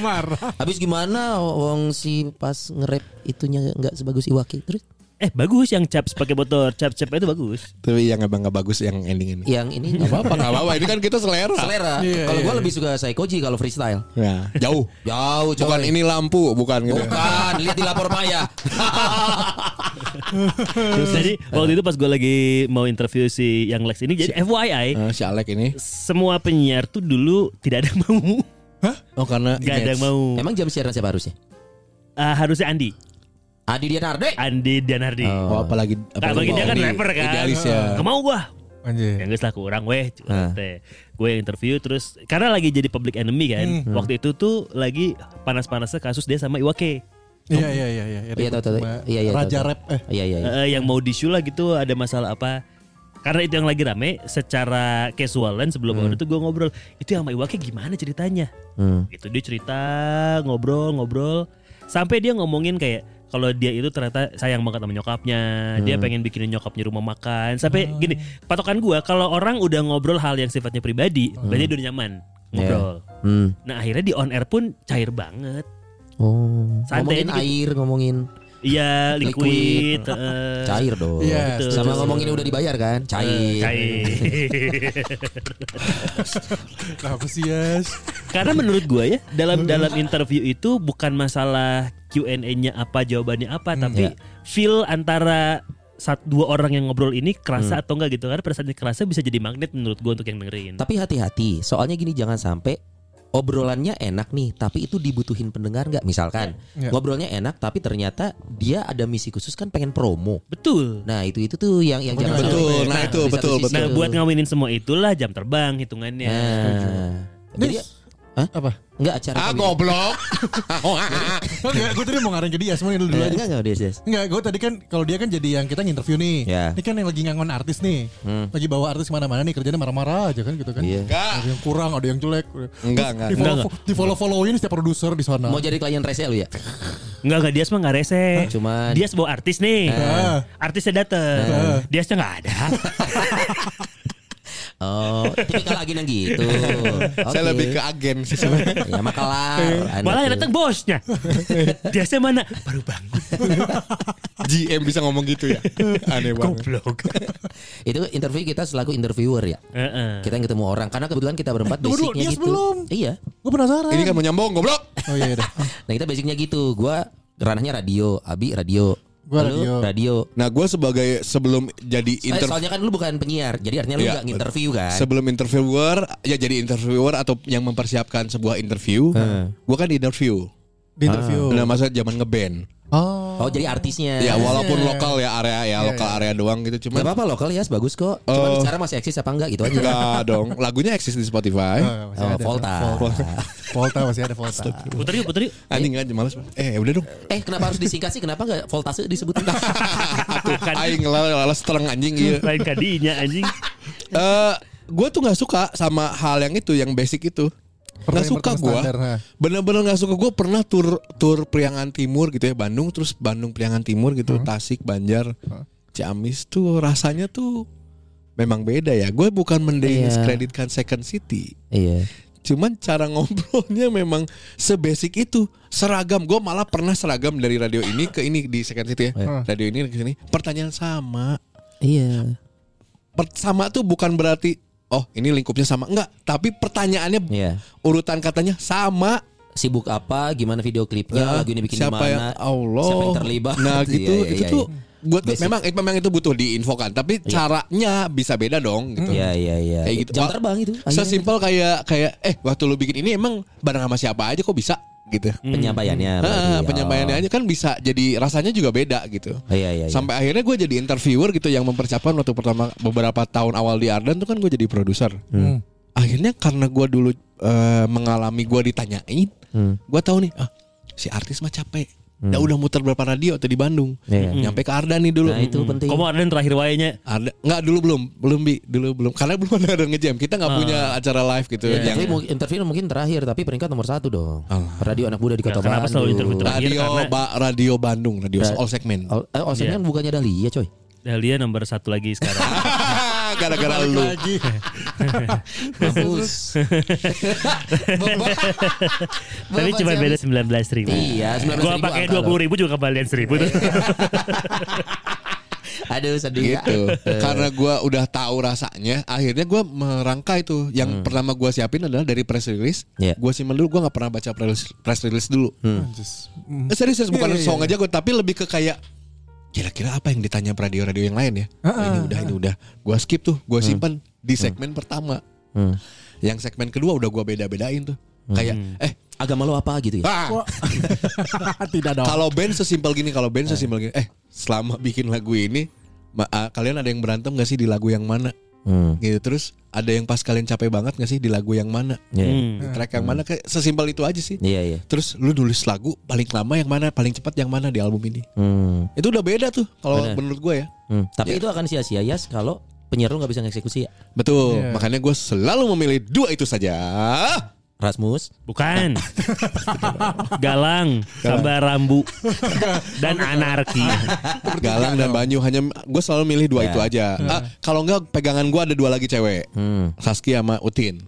S1: Marah.
S3: Habis gimana wong si pas nge-rap itunya nggak sebagus Iwaki. Terus
S2: Eh bagus yang caps pakai motor, caps caps itu bagus.
S4: Tapi yang abang nggak bagus yang ending ini.
S3: yang ini
S4: Gak apa-apa, gak Iya. apa-apa. Ini kan kita selera.
S3: selera.
S1: Iya,
S3: kalau
S1: iya,
S3: gua lebih suka Saikoji kalau freestyle.
S4: Ya, jauh.
S3: Jauh coy.
S4: Bukan ini lampu, bukan gitu.
S3: Bukan, Kan, lihat di lapor maya.
S4: Hmm.
S2: Jadi waktu itu pas gue lagi mau interview si yang Lex ini, jadi FYI
S4: Eh, si Alek ini.
S2: semua penyiar tuh dulu tidak ada yang mau,
S4: Oh, karena
S2: gak ada yang mau.
S3: Emang jam siaran siapa harusnya?
S2: Ah, harusnya Andi,
S3: Adi Dianarde.
S2: Andi Dianardi.
S4: Oh, apalagi
S2: Nah, bagi dia kan
S4: ini
S2: rapper kan.
S4: Idealis ya. Ah.
S2: Gak mau gua. Ya
S1: Anjir.
S2: nggak salah kurang weh Gue yang interview terus Karena lagi jadi public enemy kan
S4: Hmm.
S2: Waktu itu tuh lagi panas-panasnya kasus dia sama Iwake
S1: Iya iya iya iya.
S3: Iya tahu tahu.
S1: Sama
S3: Iya iya. tahu,
S1: Raja
S3: tahu.
S1: rap eh.
S3: Iya iya. iya.
S2: Eh, yang mau disu lah gitu ada masalah apa karena itu yang lagi rame secara casualan sebelum on itu gue ngobrol itu yang sama Iwake gimana ceritanya
S3: Hmm.
S2: gitu dia cerita ngobrol ngobrol sampai dia ngomongin kayak kalau dia itu ternyata sayang banget sama nyokapnya dia
S3: Hmm.
S2: pengen bikinin nyokapnya rumah makan sampai gini patokan gue kalau orang udah ngobrol hal yang sifatnya pribadi berarti dia udah nyaman
S3: Iya.
S2: ngobrol
S3: Hmm.
S2: nah akhirnya di on air pun cair banget
S3: Oh. ngomongin
S2: Santai dikit.
S3: air, ngomongin
S2: iya
S3: Liquid.
S2: liquid, eh,
S3: cair dong.
S1: Iya.
S2: Betul.
S3: Sama ngomongin udah dibayar kan? Cair.
S2: cair
S1: Kenapa sih Yes?
S2: Karena menurut gua ya dalam dalam interview itu bukan masalah Q&A-nya apa jawabannya apa tapi
S3: Ya.
S2: feel antara saat dua orang yang ngobrol ini
S3: Hmm.
S2: kerasa atau enggak gitu karena pada saat ini kerasa bisa jadi magnet menurut gua untuk yang
S4: Hmm.
S2: dengerin.
S3: Tapi hati-hati, soalnya gini jangan sampai obrolannya enak nih, tapi itu dibutuhin pendengar nggak? Misalkan
S1: Ya.
S3: ngobrolnya enak, tapi ternyata dia ada misi khusus kan pengen promo.
S2: Betul.
S3: Nah itu itu tuh yang yang jangan
S4: Betul,
S3: sampai.
S4: nah itu,
S3: di satu
S4: betul,
S3: sisi
S4: betul.
S2: Nah,
S3: tuh.
S2: buat ngawinin semua itulah jam terbang hitungannya.
S3: Nah, jadi
S1: Terus,
S3: Hah?
S1: Apa?
S3: nggak acara.
S4: Ah,
S3: kawin.
S4: goblok.
S1: Oh, enggak, gue tadi mau ngarahin ke dia semuanya dulu dulu
S3: Eh,
S1: aja.
S3: Enggak enggak Des, Des.
S1: Enggak, gue tadi kan kalau dia kan jadi yang kita nginterview nih.
S3: Iya.
S1: Ini kan yang lagi ngangon artis nih.
S3: Hmm.
S1: Lagi bawa artis kemana-mana nih kerjanya marah-marah aja kan gitu kan.
S3: Iya.
S4: Enggak.
S1: Ada yang kurang, ada yang jelek.
S4: Enggak, enggak.
S1: Di follow, di follow followin setiap produser di
S4: Oh.
S1: sana.
S3: Mau jadi klien rese lu ya?
S2: Enggak enggak Dias mah enggak rese.
S3: Cuman Nah.
S2: Dias bawa artis nih.
S1: Heeh.
S2: Artisnya dateng.
S1: Heeh.
S2: Diasnya enggak ada.
S3: oh, tipikal lagi nang gitu.
S4: Saya
S3: Oke.
S4: lebih ke Iya. agen sih sebenarnya.
S3: ya makalah. Anda
S2: Malah yang
S3: tuh.
S2: datang bosnya. Diasnya mana? Baru bangun.
S4: GM bisa ngomong gitu ya. Aneh banget.
S2: Goblok.
S3: Itu interview kita selaku interviewer ya.
S2: Heeh.
S3: Kita yang ketemu orang karena kebetulan kita berempat
S4: Eh,
S1: Tunggu dulu,
S3: basicnya
S1: dia
S3: gitu.
S1: sebelum.
S3: Iya.
S1: Gue penasaran.
S4: Ini kan mau nyambung goblok.
S1: Oh iya udah.
S3: Nah, kita basicnya gitu. Gua ranahnya radio, Abi radio.
S1: Gua
S3: Lu
S1: radio.
S3: radio.
S4: Nah, gue sebagai sebelum jadi
S3: Eh,
S4: interview
S3: soalnya kan lu bukan penyiar, jadi artinya lu
S4: Iya,
S3: nggak nginterview kan?
S4: sebelum interviewer ya jadi interviewer atau yang mempersiapkan sebuah interview gue kan interview
S1: Di interview.
S4: nah masa zaman ngeband
S1: Oh.
S3: oh, jadi artisnya.
S4: ya walaupun
S3: iya,
S4: lokal ya area ya lokal area doang gitu
S3: Gak
S4: cuman
S3: apa-apa lokal ya, bagus kok. Cuman secara masih eksis apa enggak gitu aja.
S4: Eh, enggak dong lagunya eksis di Spotify
S1: Oh, masih
S3: Oh,
S1: ada.
S3: Volta.
S1: Volta masih ada Volta.
S2: Putar yuk, putar yuk.
S4: anjing kan males eh udah dong
S3: Eh, kenapa harus disingkat sih? Kenapa enggak voltase disebutin?
S4: Tuh, aing lalas terang anjing
S3: Iya.
S4: gitu
S2: Lain kadinya anjing.
S4: Eh, gue tuh nggak suka sama hal yang itu, yang basic itu. Nggak
S1: Pertanyaan
S4: suka
S1: pertama
S4: gue.
S1: standar, nah.
S4: Bener-bener nggak suka gue. Pernah tur tur Priangan Timur gitu ya, Bandung terus Bandung Priangan Timur gitu,
S1: Hmm.
S4: Tasik, Banjar, Ciamis tuh rasanya
S1: Iya.
S4: tuh memang beda ya. Gue bukan mendiskreditkan Second City,
S3: iya.
S4: Cuman cara ngobrolnya memang sebasic itu seragam. Gue malah pernah seragam dari radio ini ke ini di second city ya.
S1: Oh, iya.
S4: Radio ini ke sini. Pertanyaan sama.
S3: Iya.
S4: Per- sama tuh bukan berarti oh ini lingkupnya sama enggak. Tapi pertanyaannya
S3: Iya.
S4: urutan katanya sama.
S3: Sibuk apa? Gimana video klipnya?
S4: Nah,
S3: Ya, lagu ini bikin di
S4: siapa
S3: mana?
S4: yang Allah.
S3: Siapa yang terlibat?
S4: Nah
S3: Iya,
S4: gitu
S3: iya,
S4: itu
S3: iya,
S4: tuh
S3: iya.
S4: buat
S3: Basic.
S4: memang eh, memang itu butuh diinfokan. Tapi caranya bisa beda dong gitu.
S3: Iya iya iya.
S4: Kayak gitu.
S3: Jam
S4: Wah,
S3: terbang itu. Iya.
S4: Sesimpel kayak kayak eh waktu lu bikin ini emang bareng sama siapa aja kok bisa gitu.
S2: Hmm.
S3: penyampaiannya. Iya, berarti.
S4: Heeh,
S3: Oh.
S4: penyampaiannya aja kan bisa jadi rasanya juga beda gitu.
S3: Oh, iya iya. iya.
S4: Sampai akhirnya gue jadi interviewer gitu yang mempersiapkan waktu pertama beberapa tahun awal di Ardan tuh kan gue jadi produser.
S1: Hmm.
S4: Akhirnya karena gue dulu eh, mengalami gue ditanyain,
S3: Hmm.
S4: gue tahu nih ah, si artis mah capek. Dah udah muter berapa radio tuh di Bandung. Hmm.
S3: Iya.
S4: Nyampe ke Ardan nih dulu.
S3: Nah itu penting.
S2: Kamu ada yang terakhir wayanya
S4: Ada nggak dulu belum belum bi dulu belum karena belum ada Ardan ngejam kita nggak punya acara live gitu
S3: Ya,
S4: yang
S3: interview, mungkin- interview mungkin terakhir tapi peringkat nomor satu dong. Radio anak muda di kota
S2: Ya, kenapa
S3: Bandung.
S2: selalu interview terakhir?
S4: radio
S2: karena-
S4: ba, radio Bandung radio all segmen
S3: Al- eh, Olsen
S2: Iya.
S3: kan bukannya Dahlia coy.
S2: Dahlia nomor satu lagi sekarang.
S4: gara-gara lu
S3: Bagus.
S2: Tapi cuma beda sembilan belas ribu.
S3: Iya, 19.000
S2: Gua pakai
S3: angka
S2: dua puluh ribu juga kembalian seribu tuh.
S3: Aduh sedih.
S4: gitu
S3: Iya.
S4: karena gua udah tahu rasanya akhirnya gua merangkai tuh yang pertama gua siapin adalah dari press release
S3: Hmm. Iya.
S4: Gua simpen dulu gua nggak pernah baca press, press release dulu
S1: Anjis. Hmm.
S4: Eh, serius serius
S1: Iya,
S4: bukan
S1: iya,
S4: song aja gua tapi lebih ke kayak kira-kira apa yang ditanya radio-radio yang lain ya Oh, ini udah ini udah gua skip tuh gua simpen di segmen pertama
S3: Hmm.
S4: yang segmen kedua udah gua beda-bedain tuh kayak eh
S3: Agama lo apa gitu ya?
S4: ah,
S1: Tidak dong.
S4: Kalau band sesimpel gini, kalau band sesimpel gini, eh selama bikin lagu ini ma- ah, kalian ada yang berantem gak sih di lagu yang mana?
S3: Hmm.
S4: Gitu terus ada yang pas kalian capek banget gak sih di lagu yang mana?
S3: Iya.
S2: Hmm.
S4: Di track yang mana? Kayak sesimpel itu aja sih.
S3: Iya iya.
S4: Terus lu nulis lagu paling lama yang mana, paling cepat yang mana di album ini?
S3: Hmm.
S4: Itu udah beda tuh kalau menurut gue ya.
S3: Hmm.
S2: Iya.
S3: Tapi itu akan sia-sia ya kalau penyiar lu nggak bisa ngeksekusi ya.
S4: Betul,
S1: Iya.
S4: makanya gue selalu memilih dua itu saja.
S3: Rasmus.
S2: Bukan. Galang, gambar rambu dan anarki.
S4: Galang dan Banyu hanya gue selalu milih dua itu aja.
S1: Iya.
S4: Ah, kalau enggak pegangan gue ada dua lagi cewek.
S3: Hmm.
S4: Saskia sama Utin.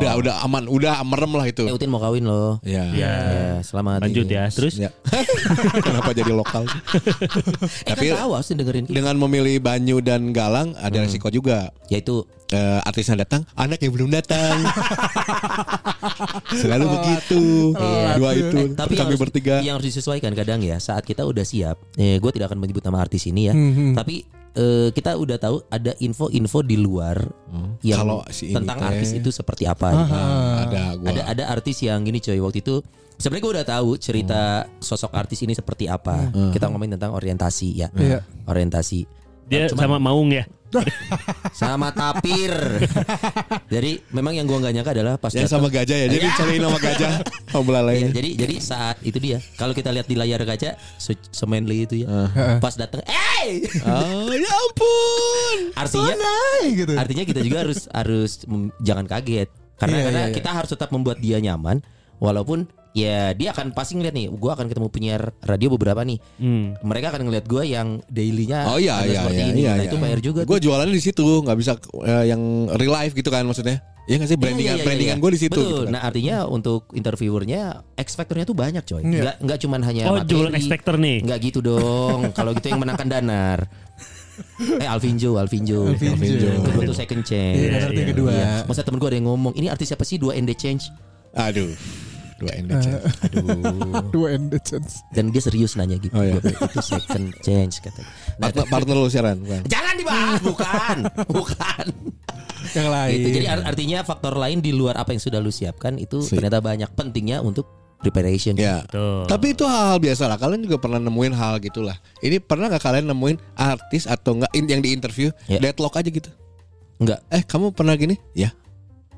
S4: Udah udah aman, udah merem lah itu.
S3: Oh. Eh Utin Hmm. mau kawin loh.
S4: Ya.
S2: Ya,
S3: Ya, selamat.
S2: lanjut
S3: ini.
S2: ya. Terus
S4: Ya. Kenapa jadi lokal?
S3: Eh,
S4: Tapi-
S3: kan tahu Hmm. harus dengerin.
S4: Dengan memilih Banyu dan Galang ada resiko juga.
S3: Yaitu
S4: Eh, artisnya datang, anaknya belum datang. Selalu begitu. Iya. Dua itu.
S3: Oh, Eh, tapi yang
S4: kami
S3: harus,
S4: bertiga.
S3: yang harus disesuaikan kadang ya saat kita udah siap eh, gue tidak akan menyebut nama artis ini ya
S4: Hmm,
S3: tapi eh, kita udah tahu ada info-info di luar yang
S4: Kalau si ini
S3: tentang
S4: teh.
S3: artis itu seperti apa gitu.
S4: Nah, ada gua.
S3: ada ada artis yang gini coy waktu itu sebenarnya gue udah tahu cerita sosok artis ini seperti
S4: Hmm.
S3: apa kita ngomongin tentang orientasi ya
S1: Iya.
S3: orientasi
S2: dia sama Maung ya.
S3: sama tapir jadi memang yang gue nggak nyangka adalah pas
S4: Yang
S3: datang-
S4: sama gajah ya. Jadi cari nama gajah. Oh,
S3: Iya,
S4: belalainya.
S3: jadi jadi saat itu dia kalau kita lihat di layar kaca se- semanly itu ya
S4: Ah.
S3: pas datang eh
S4: Oh, ya ampun.
S3: artinya
S1: Hai gitu.
S3: artinya kita juga harus harus mem- jangan kaget karena,
S1: Iya,
S3: karena
S1: iya, iya.
S3: kita harus tetap membuat dia nyaman walaupun ya dia akan pasti ngeliat nih gua akan ketemu penyiar radio beberapa nih
S2: Hmm.
S3: mereka akan ngeliat gua yang dailynya
S4: Oh iya
S3: agak
S4: iya
S3: seperti
S4: iya.
S3: ini
S4: iya,
S3: nah
S4: iya.
S3: itu bayar juga
S4: Gue
S3: tuh.
S4: jualannya di situ, nggak bisa eh, yang real life gitu kan maksudnya. Iya nggak sih
S3: Iya,
S4: brandingan
S3: iya, iya,
S4: brandingan
S3: iya.
S4: gue di situ.
S3: Betul.
S4: Gitu kan.
S3: Nah artinya untuk interviewernya X factornya tuh banyak coy.
S1: Iya.
S3: Nggak nggak cuman hanya
S2: Oh,
S3: materi.
S2: jualan X factor nih.
S3: Nggak gitu dong. Kalau gitu yang menangkan danar. Eh Alvinjo, Alvinjo.
S1: Alvin Jo.
S3: Kedua tuh second chance.
S1: Iya, danar tuh yang kedua.
S3: Iya. Masa temen gue ada yang ngomong, ini artis siapa sih 2 ND change?
S4: Aduh, dua NDC. Aduh.
S1: Dua and the chance.
S3: Dan dia serius nanya gitu.
S4: Oh, iya.
S3: Gua, itu second change katanya. Nah,
S4: partner, partner lu siaran bukan?
S3: jangan dibahas, bukan. Bukan.
S1: Yang
S4: Oh,
S1: lain.
S4: iya.
S3: Gitu. Jadi ar- artinya faktor lain di luar apa yang sudah lu siapkan itu
S4: Sih.
S3: ternyata banyak pentingnya untuk preparation.
S4: Ya.
S2: Betul.
S4: Tapi itu hal-hal biasa lah. Kalian juga pernah nemuin hal gitulah. Ini pernah nggak kalian nemuin artis atau nggak in- yang di interview
S3: Ya.
S4: deadlock aja gitu?
S3: Enggak.
S4: Eh kamu pernah gini? Ya.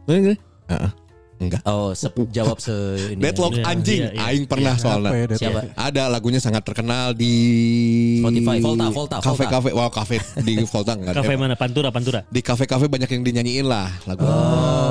S4: Pernah gini? Heeh. Enggak.
S3: Oh, sep- jawab se ini.
S4: Deadlock
S2: Iya,
S4: anjing.
S2: iya, iya.
S4: Aing pernah soalnya.
S1: Apa ya, Dad?
S3: Siapa? Oh,
S4: Ada lagunya sangat terkenal di
S3: Spotify. Volta, Volta, Volta.
S4: Kafe kafe, wow kafe di Volta enggak.
S2: Kafe mana? Pantura, Pantura.
S4: Di kafe-kafe banyak yang dinyanyiin lah lagu.
S3: Oh.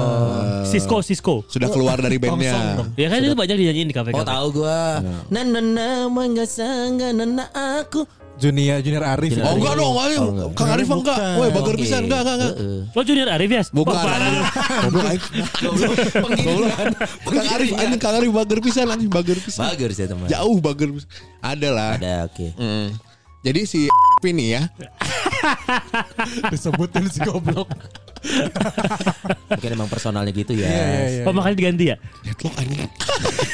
S2: Cisco, Cisco.
S4: Sudah keluar dari bandnya. Oh,
S2: Ya kan itu banyak dinyanyiin di kafe
S3: Oh, tahu gua. Na na na mangga sangga na na aku
S1: Junior Junior Arif.
S3: Junior
S4: Oh
S1: Oh,
S4: enggak dong,
S3: Oh,
S4: ayo.
S3: enggak.
S4: Kang Arif
S1: Bukan.
S4: enggak. Woi,
S3: Ah,
S4: bager
S3: Oke.
S4: pisan enggak enggak enggak.
S3: Heeh.
S2: Lo Junior Arif ya?
S4: Bukan.
S2: Oh, parah lu.
S4: Goblok aing. Goblok. Kang Arif anjing Kang Arif bager pisan anjing bager pisan.
S3: Bagus ya teman.
S4: Jauh bager pisan. Ada lah.
S3: Ada oke.
S4: Mm. Jadi si ini ya.
S1: disebutin si goblok.
S3: Mungkin emang personalnya gitu ya.
S1: Iya iya iya.
S2: Oh makanya diganti ya?
S4: Deadlock anjing.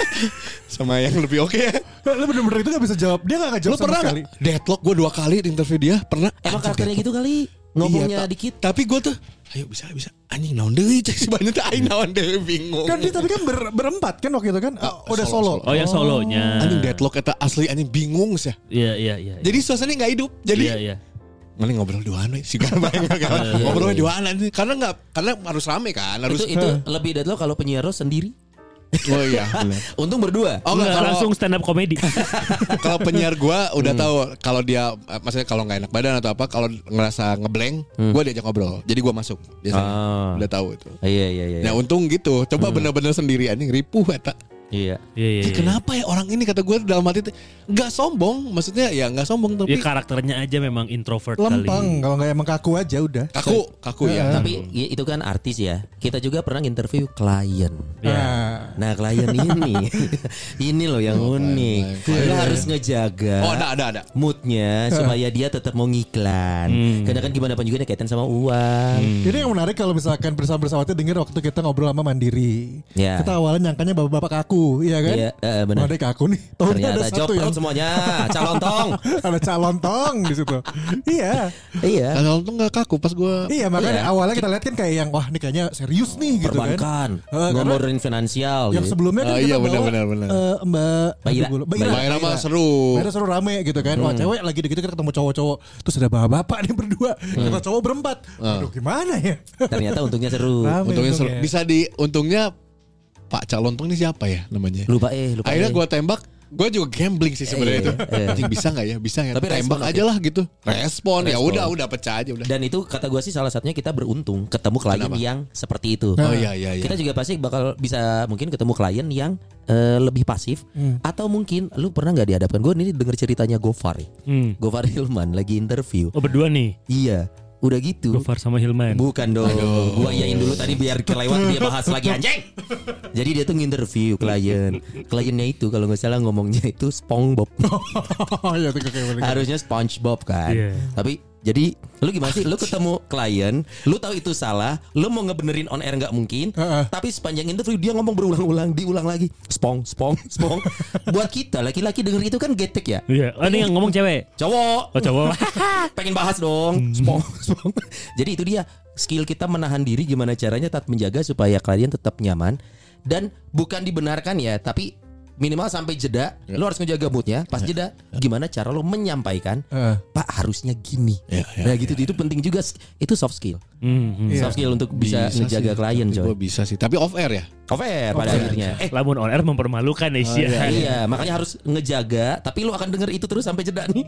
S4: Sama yang lebih oke ya.
S1: iya. Lu bener-bener itu gak bisa jawab. Dia gak ngejawab
S4: Lu
S1: sama
S4: pernah
S1: sekali.
S4: nggak deadlock gue dua kali di interview dia pernah.
S3: Emang
S4: Anjing,
S3: karakternya gitu kali
S4: Iya,
S3: ngomongnya
S4: ta-
S3: dikit.
S4: Tapi gue tuh, ayo bisa bisa. Anjing naon deui cek si banyak tuh aing naon deui bingung.
S1: Kan dia tapi kan ber- berempat kan waktu itu kan. Oh, udah solo.
S4: solo,
S2: Oh yang solonya.
S4: anjing deadlock eta asli anjing bingung sih.
S2: Iya iya iya.
S4: Jadi suasananya nggak hidup. Jadi
S2: Iya iya.
S4: mending ngobrol duaan we si Garba yang kagak ngobrol duaan anjing karena nggak karena harus rame kan harus
S3: Itu itu lebih dari lo kalau penyiar lo sendiri.
S4: oh iya bener.
S3: Untung berdua.
S4: oh nggak
S2: Nggak,
S4: kalau
S2: langsung Hmm. stand up komedi.
S4: kalau penyiar gua udah tahu kalau dia eh, maksudnya kalau nggak enak badan atau apa kalau ngerasa ngeblank
S2: Hmm.
S4: gua diajak ngobrol jadi gua masuk biasanya
S3: Ah.
S4: udah tahu itu
S3: Iya iya iya.
S4: nah untung gitu coba bener-bener sendiri anjing ripuh eta
S3: Hmm. Iya.
S2: Iya iya.
S4: Ya,
S2: iya.
S4: kenapa ya orang ini kata gue dalam hati tuh, nggak sombong maksudnya ya nggak sombong tapi
S2: Ya karakternya aja memang introvert
S1: Lempeng.
S2: kali.
S1: Kalau gak emang kaku aja udah.
S4: kaku kaku ya
S1: Hmm.
S3: Tapi i- itu kan artis ya. Kita juga pernah interview klien.
S1: Nah.
S3: Nah klien ini, ini loh yang
S1: Oh,
S3: unik. Lo harus ngejaga.
S4: oh ada ada ada
S3: moodnya supaya dia tetap mau ngiklan.
S1: Hmm.
S3: Karena kan gimana pun juga dia kaitan sama uang.
S1: Jadi yang menarik kalau misalkan bersama-bersamanya denger waktu kita ngobrol sama Mandiri.
S3: Ya.
S1: Kita awalnya nyangkanya bapak-bapak kaku, iya kan?
S3: Iya, eh, benar.
S1: Mandiri kaku nih. Tahunya Oh, ada
S3: Ternyata
S1: satu
S3: joplon
S1: yang
S3: semuanya, calon tong.
S1: ada calon tong di situ. iya.
S3: iya.
S4: kalau tuh nggak kaku pas gue
S1: Iya makanya
S3: Iya.
S1: awalnya kita lihat kan kayak yang wah ini kayaknya serius nih gitu kan.
S3: Perbankan,
S1: Eh, karena-
S3: ngomorin finansial.
S1: Yang
S3: gitu.
S1: sebelumnya kan
S4: Ah,
S1: kita
S4: iya,
S1: bawa,
S4: benar, benar, benar.
S1: eh, Mbak
S3: Mbak Ira.
S1: Aduh, gua lupa.
S3: Mbak
S4: Mbak Ira mah seru. Hmm.
S1: Mbak Ira seru rame gitu kan. Wah cewek lagi dikit kita ketemu cowok-cowok. Terus ada bapak-bapak nih berdua.
S4: Hmm.
S1: Kita cowok berempat. Aduh gimana ya?
S3: Ternyata untungnya seru.
S1: Rame
S4: Ah. untungnya seru.
S3: ya.
S1: untungnya.
S4: bisa di untungnya Pak calon peng ini siapa ya namanya
S3: Lupa eh, lupa. eh.
S4: akhirnya gue tembak gue juga gambling sih
S3: Iya,
S4: sebenarnya itu
S3: iya.
S4: Anjing, bisa nggak ya bisa ya
S3: Tapi
S4: tembak
S3: respon,
S4: aja
S3: oke.
S4: lah gitu respon, ya
S3: Respon.
S4: udah udah pecah aja udah
S3: dan itu kata gua sih salah satunya kita beruntung ketemu klien
S4: Kenapa?
S3: yang seperti itu.
S4: oh iya iya iya
S3: Nah, Kita juga pasti bakal bisa mungkin ketemu klien yang eh, lebih pasif atau mungkin lu pernah nggak dihadapkan gue ini denger ceritanya Gofar. ya.
S2: Hmm.
S3: Gofar Hilman lagi interview.
S2: Oh berdua nih.
S3: Iya, udah gitu.
S2: Gofar sama Hilman.
S3: Bukan dong. Gua iyain dulu tadi biar kelewat dia bahas lagi anjing. Jadi dia tuh nginterview klien. Kliennya itu kalau nggak salah ngomongnya itu SpongeBob.
S1: Oh iya tuh kayak balik.
S3: Harusnya SpongeBob kan.
S2: Iya.
S3: Tapi jadi lu gimana sih? Lu ketemu klien, lu tahu itu salah, lu mau ngebenerin on air nggak mungkin.
S1: Heeh.
S3: Tapi sepanjang interview dia ngomong berulang-ulang, diulang lagi. Spong, spong, spong. Buat kita laki-laki denger itu kan getek ya.
S2: Iya. Oh ini yang ngomong cewek.
S3: Cowok.
S2: Oh cowok.
S3: pengen bahas dong Spong, spong. jadi itu dia skill kita menahan diri gimana caranya tetap menjaga supaya kalian tetap nyaman dan bukan dibenarkan ya tapi minimal sampai jeda lo harus ngejaga moodnya pas jeda gimana cara lo menyampaikan
S1: Heeh.
S3: pak harusnya gini nah gitu itu penting juga itu soft skill
S2: Hmm, hmm.
S1: Iya.
S3: soft skill untuk bisa, menjaga klien
S4: gue
S3: coy
S4: bisa sih tapi off air ya
S3: cover pada akhirnya eh
S2: Lamun on air mempermalukan ya sih.
S3: Iya, makanya harus ngejaga. Tapi lo akan denger itu terus sampai jeda nih.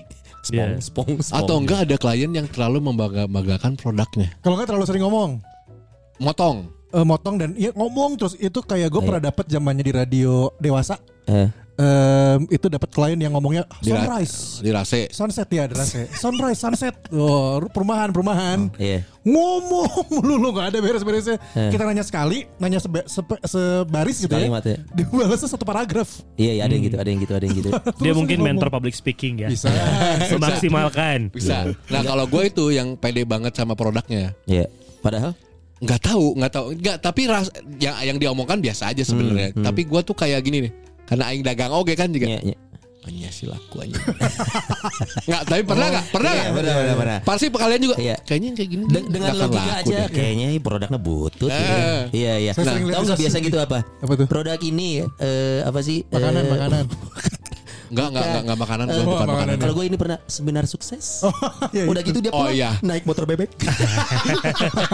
S3: Spong,
S2: Iya.
S3: spong, spong.
S4: atau enggak ada klien yang terlalu membanggakan produknya
S1: Kalau nggak terlalu sering ngomong.
S4: motong
S1: eh, motong dan ya ngomong terus itu kayak gue
S3: Iya.
S1: pernah dapet zamannya di radio dewasa
S3: Eh.
S1: em, itu dapat klien yang ngomongnya "Ah,
S4: Di ra-
S1: sunrise
S4: di rase
S1: sunset ya ada rasa ya. sunrise sunset oh, perumahan perumahan
S3: Iya.
S1: ngomong mulu lu nggak ada beres-beresnya
S3: Eh.
S1: kita nanya sekali nanya sebe- sepe- sebaris gitu ya
S3: Sekalimat ya.
S1: dibalasnya satu paragraf
S3: Iya, iya, ada yang gitu, ada yang gitu, ada yang gitu.
S2: Dia
S1: Terus
S2: mungkin
S1: ngomong.
S2: mentor public speaking ya.
S1: bisa
S2: Memaksimalkan.
S4: bisa nah kalau gue itu yang pede banget sama produknya
S3: Iya. Padahal
S4: nggak tahu nggak tahu nggak tapi ras yang yang diomongkan biasa aja sebenarnya tapi gue tuh kayak gini nih karena aing dagang oke kan juga
S3: Hmm, Iya, iya.
S4: Banyak sih laku aja Nggak tapi pernah nggak pernah
S3: Iya,
S4: nggak
S3: benar, benar, benar.
S4: pasti kalian juga
S3: Iya.
S4: kayaknya yang kayak gini
S3: De- dengan
S4: nggak akan
S3: logika
S4: laku
S3: aja
S4: deh.
S3: kayaknya ini produknya butut ya.
S4: Eh.
S3: Iya, iya.
S1: Saya
S3: Nah,
S1: sering lihat
S3: tahu
S1: itu
S3: nggak biasa
S1: sih.
S3: gitu apa?
S1: Apa tuh?
S3: Produk ini eh, apa sih? Eh,
S1: makanan makanan
S4: nggak nggak nggak nggak makanan
S1: Oh,
S4: bukan, bukan
S1: makanan.
S4: makanan
S3: Kalau gue ini pernah seminar sukses.
S1: iya,
S3: Udah gitu dia
S4: Oh,
S3: pulang,
S4: iya.
S3: naik motor bebek.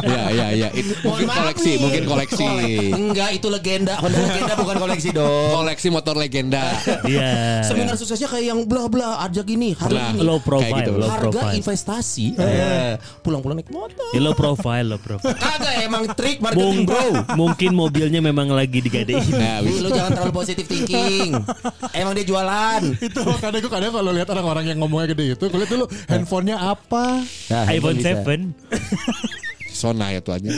S4: Iya iya iya Itu mungkin
S3: Mohon maaf
S4: koleksi
S3: nih.
S4: mungkin koleksi Iya,
S3: Kole- Enggak, itu legenda. Honda legenda bukan koleksi dong.
S4: koleksi motor legenda
S2: Iya.
S3: Seminar suksesnya kayak yang bla bla ajak ini, hari
S4: Nah,
S3: ini.
S2: Low profile,
S4: Kayak gitu.
S2: low
S3: Harga
S2: profile.
S3: investasi. eh, Pulang-pulang naik motor.
S2: Ya, low profile, low profile.
S3: Kagak emang trik marketing
S2: Mung,
S3: bro.
S2: mungkin mobilnya memang lagi digadein.
S4: nah,
S3: Ih, lu jangan terlalu positif thinking. Emang dia jualan. bukan.
S5: itu makanya gue kadang kalau lihat orang-orang yang ngomongnya gede itu, gue lihat dulu
S3: Eh.
S5: handphonenya apa.
S3: Nah,
S2: iPhone
S3: bisa.
S2: 7
S4: Sona ya tuh aja.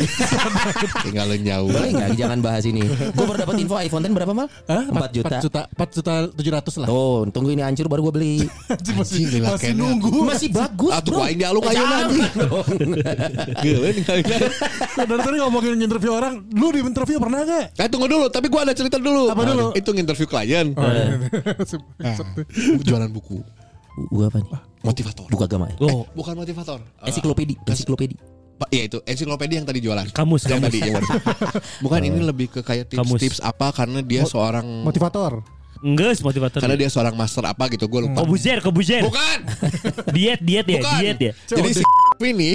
S4: Tinggal lu jauh.
S3: Boleh nggak jangan bahas ini. Gue baru dapat info iPhone 10 berapa mal?
S5: Hah?
S3: 4 juta. Oh,
S5: 4 juta, 4 juta 700 lah.
S3: Tuh, tunggu ini hancur baru gue beli.
S5: Anjing, masih,
S4: Anjing, gila,
S5: masih
S4: kayaknya.
S5: nunggu.
S3: Masih bagus,
S4: Atuh
S3: bro.
S4: aing di alung ayeuna
S3: Jangan
S4: anjing.
S3: dong.
S4: Gila ninggalin.
S5: Nah, dari tadi ngomongin interview orang, lu di interview pernah gak?
S4: Eh tunggu dulu, tapi gua ada cerita dulu.
S5: Apa dulu? Oh,
S4: Itu nginterview klien.
S3: Eh.
S4: Nah, jualan buku.
S3: Gua apa nih?
S4: Motivator.
S3: Buku agama ya.
S2: Oh,
S4: Bukan motivator. Eh,
S3: Ensiklopedi, ensiklopedi.
S4: Pak, Iya itu ensiklopedia yang tadi jualan.
S2: Kamus,
S4: yang
S2: kamus.
S4: tadi yang barusan. Bukan ini lebih ke kayak
S2: Kamus.
S4: tips-tips apa karena dia seorang
S5: Eh, Motivator.
S2: enggak motivator.
S4: karena dia seorang master apa gitu gue
S5: Oh,
S4: lupa.
S2: Kobuzer, Kobuzer.
S4: Bukan.
S2: Diet, diet
S5: Iya,
S2: ya,
S4: Bukan.
S2: diet ya.
S4: Jadi si ini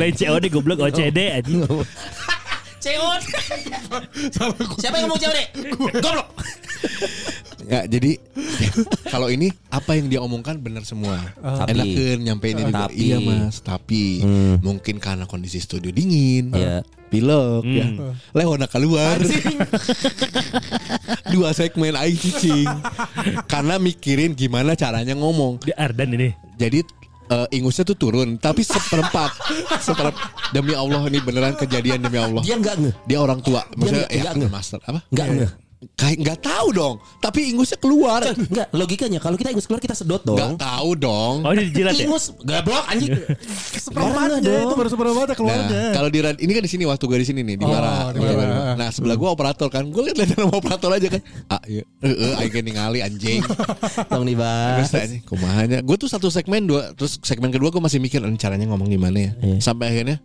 S2: Lain COD goblok OCD anjing.
S3: COD. Siapa yang ngomong COD? Goblok.
S4: ya jadi kalau ini apa yang dia omongkan benar semua.
S3: Ah. Tapi.
S4: Enakeun nyampein ini juga.
S3: Tapi. Hmm.
S4: Iya Mas, tapi mungkin karena kondisi studio dingin.
S3: Iya.
S4: Pilek ya. Lewat keluar. Dua segmen aing cicing. karena mikirin gimana caranya ngomong.
S2: Di Ardan ini.
S4: Jadi eh, ingusnya tuh turun, tapi seperempat, seperempat. Demi Allah ini beneran kejadian demi Allah.
S3: Dia enggak nge.
S4: Dia orang tua, maksudnya
S3: nggak- nggak nge.
S4: ya master apa?
S3: Enggak nge.
S4: Kayak nggak tahu dong, tapi ingusnya keluar.
S3: Coy, Enggak, logikanya kalau kita ingus keluar kita sedot dong.
S4: Nggak tahu dong.
S2: Oh, ini dijilat ya.
S3: Ingus, goblok anjing. Orang
S5: Seperempatnya
S3: nggak
S5: itu
S3: Iya. dong.
S5: baru seperempatnya keluarnya.
S4: Nah, kalau di rad- ini kan di sini waktu gue di sini nih di
S5: Oh, di
S4: Mara.
S5: Mara. Hmm.
S4: Iya, bener. Nah, sebelah gue operator kan. Gue lihat lihat sama operator aja kan. Ah, iya. Heeh, aing kan ningali anjing.
S3: Tong nih,
S4: Terus
S3: Bang.
S4: tanya, kumahanya. Gue tuh satu segmen dua, terus segmen kedua gue masih mikir "Eh, caranya ngomong gimana ya.
S3: Iya.
S4: Sampai akhirnya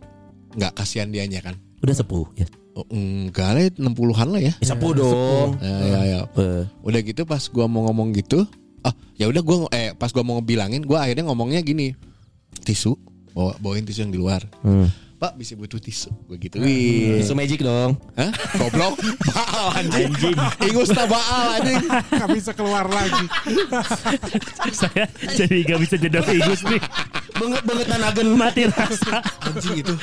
S4: nggak kasihan dianya kan.
S3: Udah sepuh ya.
S4: Oh, enggak lah 60-an lah ya.
S3: Eh,
S5: Iya.
S3: Sepuh dong.
S4: Ya, ya, ya.
S3: Eh,
S4: Udah gitu pas gua mau ngomong gitu, ah ya udah gua eh pas gua mau bilangin gua akhirnya ngomongnya gini. Tisu, bawa bawain tisu yang di luar.
S3: Hmm.
S4: Pak bisa butuh tisu gitu, Gue
S5: Ah.
S4: gituin
S3: Isu magic dong.
S4: Hah? Goblok Baal anjing
S2: Anjing.
S4: Ingus tak baal anjing
S5: Nggak bisa keluar lagi.
S2: Saya jadi gak bisa jeda ingus nih.
S3: Banget banget nanagen.
S2: Mati rasa.
S4: Anjing itu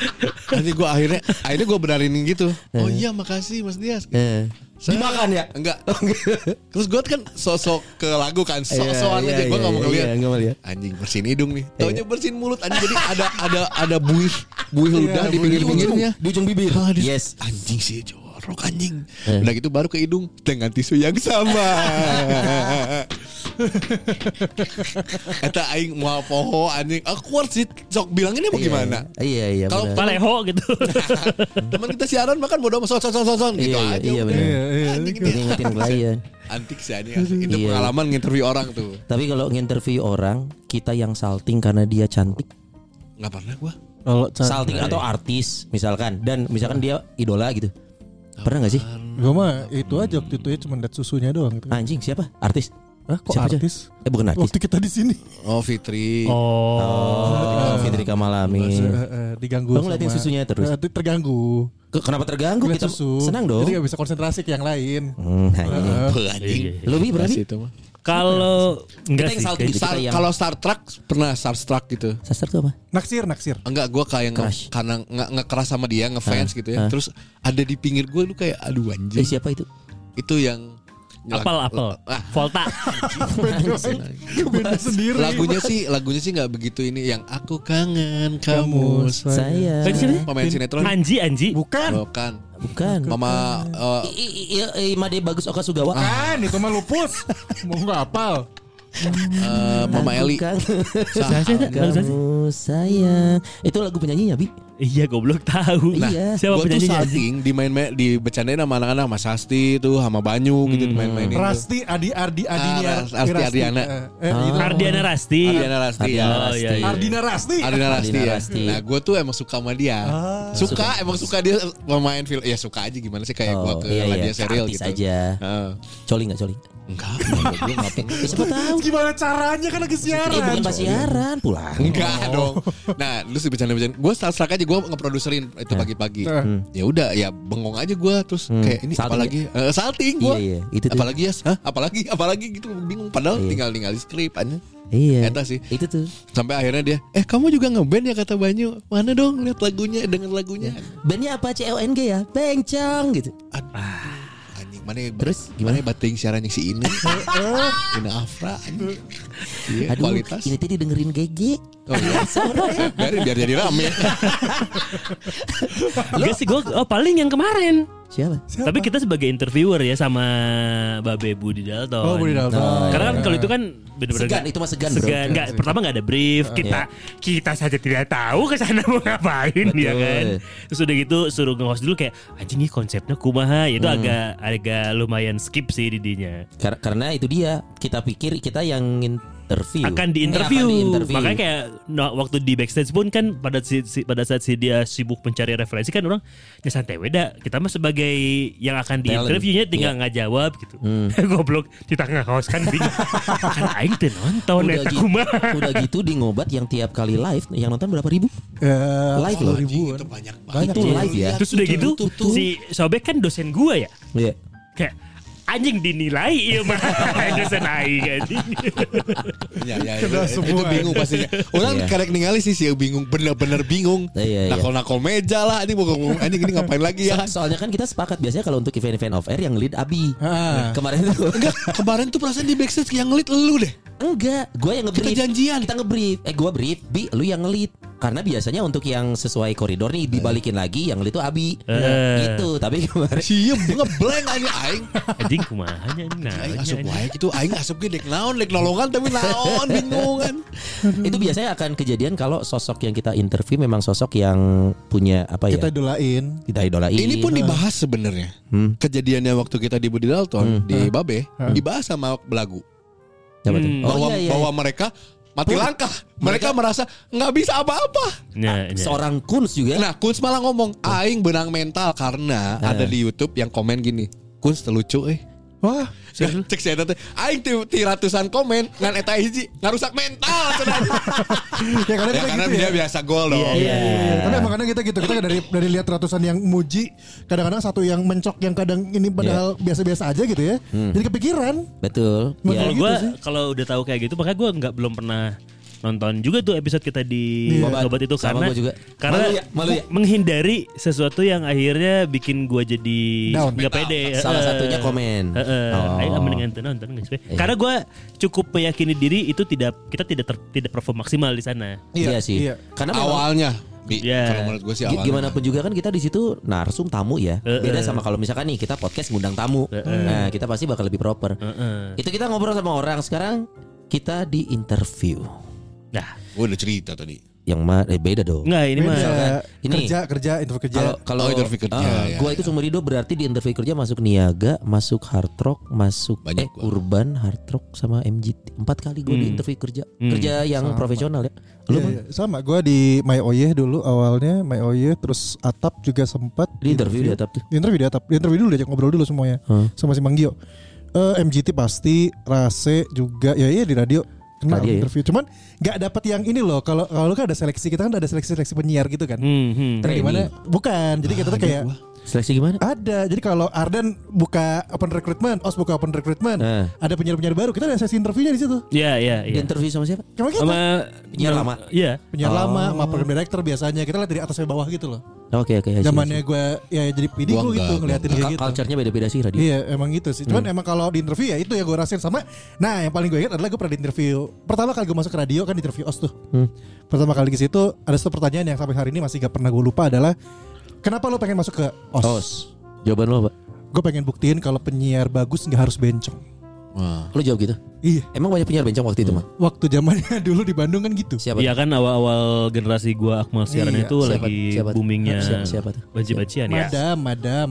S4: Nanti gue akhirnya Akhirnya gue benerin gitu Oh iya makasih Mas Dias
S3: Eh.
S4: Saya-
S3: Dimakan ya?
S4: Enggak Terus gue kan sosok ke lagu kan Sok-sokan
S3: Iya,
S4: aja
S3: iya,
S4: Gue gak mau
S3: iya,
S4: ngeliat
S3: iya, nggak mau lihat. Iya.
S4: Anjing bersihin hidung nih Taunya bersihin mulut anjing Jadi ada ada ada buih
S3: Iya,
S4: Buih ludah di pinggir-pinggirnya
S3: Di ujung bibir.
S4: Ah, dia-
S3: Yes. Iya.
S4: Anjing sih jorok anjing Udah gitu baru ke hidung Dengan tisu yang sama Eta aing mau poho anjing Awkward sih Sok bilanginnya mau gimana
S3: Iya iya.
S4: Kalau
S3: benar.
S2: Paleho gitu.
S4: Teman kita siaran makan bodo amat son son son son, son gitu
S3: Iya iya
S4: aja.
S3: iya
S4: udah.
S3: benar. Iya,
S4: Anjing gitu.
S3: Jadi
S4: ini
S3: Ngingetin klien.
S4: antik sih anjing. asli. Itu
S3: Iya.
S4: pengalaman nginterview orang tuh.
S3: Tapi kalau nginterview orang, kita yang salting karena dia cantik.
S4: Enggak pernah gua.
S1: Kalau
S3: Salting atau artis misalkan dan misalkan dia idola gitu. Pernah gak sih?
S5: Gue mah itu aja waktu itu ya cuma dat susunya doang gitu.
S3: Anjing siapa? Artis.
S5: Hah, kok
S3: Siapa, Coy?
S5: artis?
S3: Eh bukan artis.
S5: Waktu kita di sini
S4: Oh Fitri.
S2: Oh.
S3: Oh, Fitri Kamalamin.
S5: Eh, eh, diganggu.
S3: Bang, ngeliatin susunya terus.
S5: Eh, terganggu.
S3: Ke- Kenapa terganggu
S5: Ngeliat
S3: kita?
S5: susu.
S3: Senang dong.
S5: Jadi gak bisa konsentrasi ke yang lain.
S3: Hmm, nah ini.
S4: Beuh, anjing.
S3: Lu Bi, berani?
S4: Kasih itu mah.
S2: Kalau enggak
S3: yang
S2: sih.
S3: salting.
S2: kayak-
S4: Star-
S3: kita yang-
S4: kalau Star Trek pernah Star Trek gitu.
S3: Sasar tuh apa?
S5: Naksir, naksir.
S4: Enggak, gue kayak nge,
S3: Crush.
S4: karena nge, ngekeras sama dia, ngefans gitu ya. Terus ada di pinggir gue lu kayak aduh
S3: Eh
S4: anjing.
S3: siapa itu?
S4: Itu yang
S2: Apel,
S4: lag-
S2: apel.
S4: Ah,
S2: Volta.
S5: Beda sendiri.
S4: lagunya sih lagunya sih nggak begitu ini yang aku kangen
S3: Oh,
S4: kamu.
S3: Saya.
S2: Kan sini?
S4: Pemain sinetron
S2: Anji, Anji.
S5: Bukan.
S3: Oh.
S4: bukan.
S3: Bukan.
S4: Mama eh,
S3: I- I- I- I- Made Bagus Oka Sugawa.
S1: Ah,
S5: Kan itu mah lupus. Mau nggak apal.
S4: eh, Mama Eli.
S3: Bukan.
S4: Sah-
S3: Kamu sayang. Itu lagu penyanyinya, Bi.
S2: Iya goblok tahu.
S3: Nah,
S2: siapa
S4: Gue tuh
S2: penyanyinya anjing?
S4: salting dimain main di bercandain sama anak-anak sama Sasti tuh sama Banyu gitu dimain-mainin. tuh.
S5: Rasti Adi Ardi
S4: Ah,
S5: Adinia
S4: Ras- Asti
S5: Rasti.
S4: Adiana.
S5: Eh, eh,
S3: Ah.
S5: itu.
S2: Ardiana Rasti.
S4: Ariana Rasti ya.
S3: Ariana
S2: Oh, iya, iya.
S5: Ardina Rasti.
S4: Arina Rasti
S3: Ardina
S4: ya.
S3: Rasti.
S4: Nah, gue tuh emang suka sama dia. suka, emang suka dia pemain film. Ya suka aja gimana sih kayak gue
S3: Oh,
S4: ke
S3: iya, iya.
S4: dia serial
S3: Artis
S4: gitu.
S3: aja.
S4: Heeh.
S3: Coli nggak coli?
S4: Enggak, enggak, gue nggak pernah.
S3: Siapa tahu?
S5: Gimana caranya kan lagi
S3: Eh bukan
S5: siaran.
S3: pas siaran pulang.
S4: Enggak
S3: Oh.
S4: dong. Nah, lu sih bercanda-bercanda. Gue serak aja gue ngeproduserin
S3: Nah.
S4: itu pagi-pagi. Ya udah, ya bengong aja gue terus kayak
S3: Hmm.
S4: ini
S3: Salting ya?
S4: apalagi Eh, salting gue.
S3: Iya, iya, itu tuh.
S4: apalagi ya, Hah? apalagi apalagi gitu bingung padahal tinggal tinggal skrip aja.
S3: Iya.
S4: Eta sih.
S3: Itu tuh.
S4: Sampai akhirnya dia, "Eh, kamu juga ngeband ya kata Banyu. Mana dong lihat
S3: Iya.
S4: lagunya dengan lagunya."
S3: Bandnya apa? CONG ya? Bencong gitu.
S4: Aduh, anjing mana ya?
S3: Terus Eh,
S4: gimana bating siarannya si ini ini Afra anjing. Iya,
S3: Aduh,
S4: kualitas
S3: ini ya. tadi dengerin GG.
S4: oh iya Biarin, biar jadi
S3: Iya,
S4: rame
S2: Enggak sih gue oh, paling yang kemarin.
S3: Siapa?
S2: Tapi kita sebagai interviewer ya sama Babe Budi Dalton.
S1: Oh, Budi Dalton.
S2: Nah, Karena kan
S1: Iya.
S2: kalau itu kan benar-benar
S3: Segan, itu mah segan, bro.
S2: Segan, nggak- pertama nggak ada brief.
S1: Iya.
S2: Kita kita saja tidak tahu ke sana mau ngapain ya kan. Terus udah gitu suruh nge-host dulu kayak anjing ini konsepnya kumaha. Ya, Itu
S3: Hmm.
S2: agak agak lumayan skip sih didinya.
S3: Kar- karena itu dia kita pikir kita yang interview. Iya,
S2: akan diinterview. Makanya kayak no- waktu di backstage pun kan pada si, si- pada saat si dia sibuk mencari referensi kan orang ya santai weda. Kita mah sebagai yang akan diinterviewnya
S3: Iya.
S2: tinggal nggak jawab gitu.
S3: Hmm.
S2: Goblok kita nggak host kan bingung. kan aing teu nonton
S3: udah,
S2: ya. eta
S3: gitu,
S2: kumaha.
S3: udah gitu di ngobat yang tiap kali live yang nonton berapa ribu?
S1: Eh,
S3: Live loh.
S4: Anjing, itu banyak banget
S3: Itu live ya.
S2: Iya. Terus udah gitu si Sobek kan dosen gua ya.
S3: Iya.
S2: Kayak anjing dinilai iya mah dosen aing anjing.
S4: Ya, ya, ya.
S1: Kena
S4: Itu
S1: semua.
S4: bingung pastinya. Orang
S3: Iya.
S4: karek ningali sih sih bingung, bener-bener bingung.
S3: Iya, iya.
S4: Nakol-nakol meja lah, ini mau ngomong, anjing ini ngapain lagi ya?
S3: So- soalnya kan kita sepakat biasanya kalau untuk event-event off air yang lead Abi.
S1: Ah.
S3: Kemarin tuh
S4: Enggak, kemarin tuh perasaan di backstage yang ngelit lu deh.
S3: enggak, gua yang ngebrief.
S4: Kita janjian.
S3: Kita ngebrief. Eh gua brief, Bi, lu yang ngelit. Karena biasanya untuk yang sesuai koridor nih dibalikin lagi yang lead tuh Abi.
S2: Eh.
S3: Gitu, tapi kemarin
S4: Siem, ngeblank anjing aing.
S2: Anjing kumaha anjing. nah,
S4: Aing
S2: anjing.
S4: asup
S1: Iya,
S4: wae gitu, aing asup ge dek naon, dek nolongan tapi naon bingung kan.
S3: itu biasanya akan kejadian kalau sosok yang kita interview memang sosok yang punya apa ya
S1: kita idolain.
S3: kita idolain
S4: Ini pun dibahas sebenarnya.
S3: Hmm.
S4: Kejadiannya waktu kita di Budi Dalton di Babe,
S1: Hmm.
S4: dibahas sama belagu.
S3: Siapa tuh?
S2: Hmm.
S3: Hmm. oh,
S4: Bahwa
S3: iya, iya.
S4: bahwa mereka mati langkah. Mereka merasa nggak bisa apa-apa.
S2: Nah, nah.
S3: seorang kuns juga
S4: Nah, Kunz malah ngomong aing benang mental karena ada di YouTube yang komen gini. Kunz terlucu eh. Wah, cek si Eta teh. Aing ti, ti ratusan komen ngan eta hiji ngarusak mental cenah.
S1: ya karena
S4: ya,
S1: kita
S4: karena
S1: gitu
S4: dia
S1: ya.
S4: biasa gol dong.
S2: Iya.
S1: Tapi emang kadang kita gitu kita dari dari lihat ratusan yang muji, kadang-kadang satu yang mencok yang kadang ini padahal
S3: Iya.
S1: biasa-biasa aja gitu ya.
S3: Hmm.
S1: Jadi kepikiran.
S3: betul
S1: Mau
S3: ya.
S2: Kalau
S1: Kayak
S2: gue
S1: gitu sih.
S2: Iya, kalau udah tahu kayak gitu, makanya gue nggak belum pernah nonton juga tuh episode kita di
S3: Iya.
S2: Ngobat itu
S3: Sama
S2: karena
S3: gua juga.
S2: karena
S3: Malu ya, malu ya.
S2: menghindari sesuatu yang akhirnya bikin gue jadi
S1: Down.
S2: nggak pede.
S3: Iya. Salah
S2: Eh,
S3: satunya komen.
S2: eh,
S3: Oh. Iya.
S2: Ayo mendingan tuh nonton guys. Karena gue cukup meyakini diri itu tidak kita tidak ter- tidak perform maksimal di sana.
S3: iya, sih
S1: iya.
S3: karena memang
S4: Awalnya, Bi,
S2: Iya.
S4: kalau menurut gue sih
S3: gi-
S4: awalnya.
S3: gimana pun juga kan kita di situ narsum tamu ya
S2: Eh,
S3: beda
S2: eh.
S3: sama kalau misalkan nih kita podcast ngundang tamu nah kita pasti bakal lebih proper
S2: Heeh.
S3: itu kita ngobrol sama orang sekarang kita di interview
S2: Nah,
S4: Gue udah cerita tadi.
S3: yang ma- eh, beda dong
S2: nggak ini mah
S1: Beda.
S3: Ini-
S1: kerja kerja interview kerja. Iya,
S3: Kalau kalau
S4: Oh, interview kerja,
S3: Ah,
S4: ya,
S3: gua itu sumber hidup berarti di interview kerja masuk niaga, masuk hard rock, masuk eh,
S4: Banyak gua.
S3: urban, hard rock sama MGT. Empat kali gua di interview kerja. Kerja yang profesional ya.
S1: Hmm.
S3: Lu
S1: Iya,
S3: Bang,
S1: iya. sama gue di My Oye dulu awalnya My Oye terus Atap juga sempat
S3: di interview di atap tuh.
S1: di interview di Atap di interview dulu diajak ngobrol dulu semuanya
S3: Hmm.
S1: sama si Mang Gio Eh, MGT pasti Rase juga ya iya di radio kena
S3: Radio ya.
S1: interview cuman nggak dapat yang ini loh kalau kalau kan ada seleksi kita kan ada seleksi seleksi penyiar gitu kan
S2: hmm, hmm.
S4: Nah,
S1: Yang dimana bukan jadi kita tuh kayak
S3: Seleksi gimana?
S1: ada jadi kalau Arden buka open recruitment Os buka open recruitment
S3: Eh.
S4: Nah.
S1: ada penyiar penyiar baru kita ada sesi interviewnya di situ
S2: Ya, ya,
S1: Iya.
S3: Di
S2: ya.
S3: interview sama siapa?
S1: cuma kita
S2: Sama
S3: Penyiar lama.
S2: Iya.
S1: penyiar
S4: Oh.
S1: lama sama program director biasanya kita lihat dari atas ke bawah gitu loh
S3: Oke oke. I see,
S1: zamannya
S3: I see.
S1: gue ya jadi PD
S4: Gua
S1: gue gitu
S4: enggak, Hmm.
S1: ngeliatin
S3: Ka-
S1: dia gitu.
S3: Culture-nya beda-beda sih radio.
S1: Iya emang gitu sih. Cuman emang kalau di interview ya itu ya gue rasain sama. Nah yang paling gue ingat adalah gue pernah di interview. Pertama kali gue masuk ke radio kan di interview os tuh.
S4: Hmm.
S1: Pertama kali ke situ ada satu pertanyaan yang sampai hari ini masih gak pernah gue lupa adalah kenapa lo pengen masuk ke os?
S3: Os. Jawaban lu apa?
S1: Gue pengen buktiin kalau penyiar bagus nggak harus bencong.
S4: Wah.
S3: Lu jawab gitu.
S1: Iya.
S3: Emang banyak penyiar bencong waktu
S4: Hmm.
S3: itu mah?
S1: Waktu zamannya dulu di Bandung kan gitu.
S3: Siapa?
S2: Iya kan awal-awal generasi gua Akmal siaran
S1: Iya,
S2: itu
S3: siapa-
S2: lagi
S3: siapa tuh?
S2: boomingnya
S3: Siapa- siapa tuh?
S2: banci-bancian ya.
S1: Madam, madam.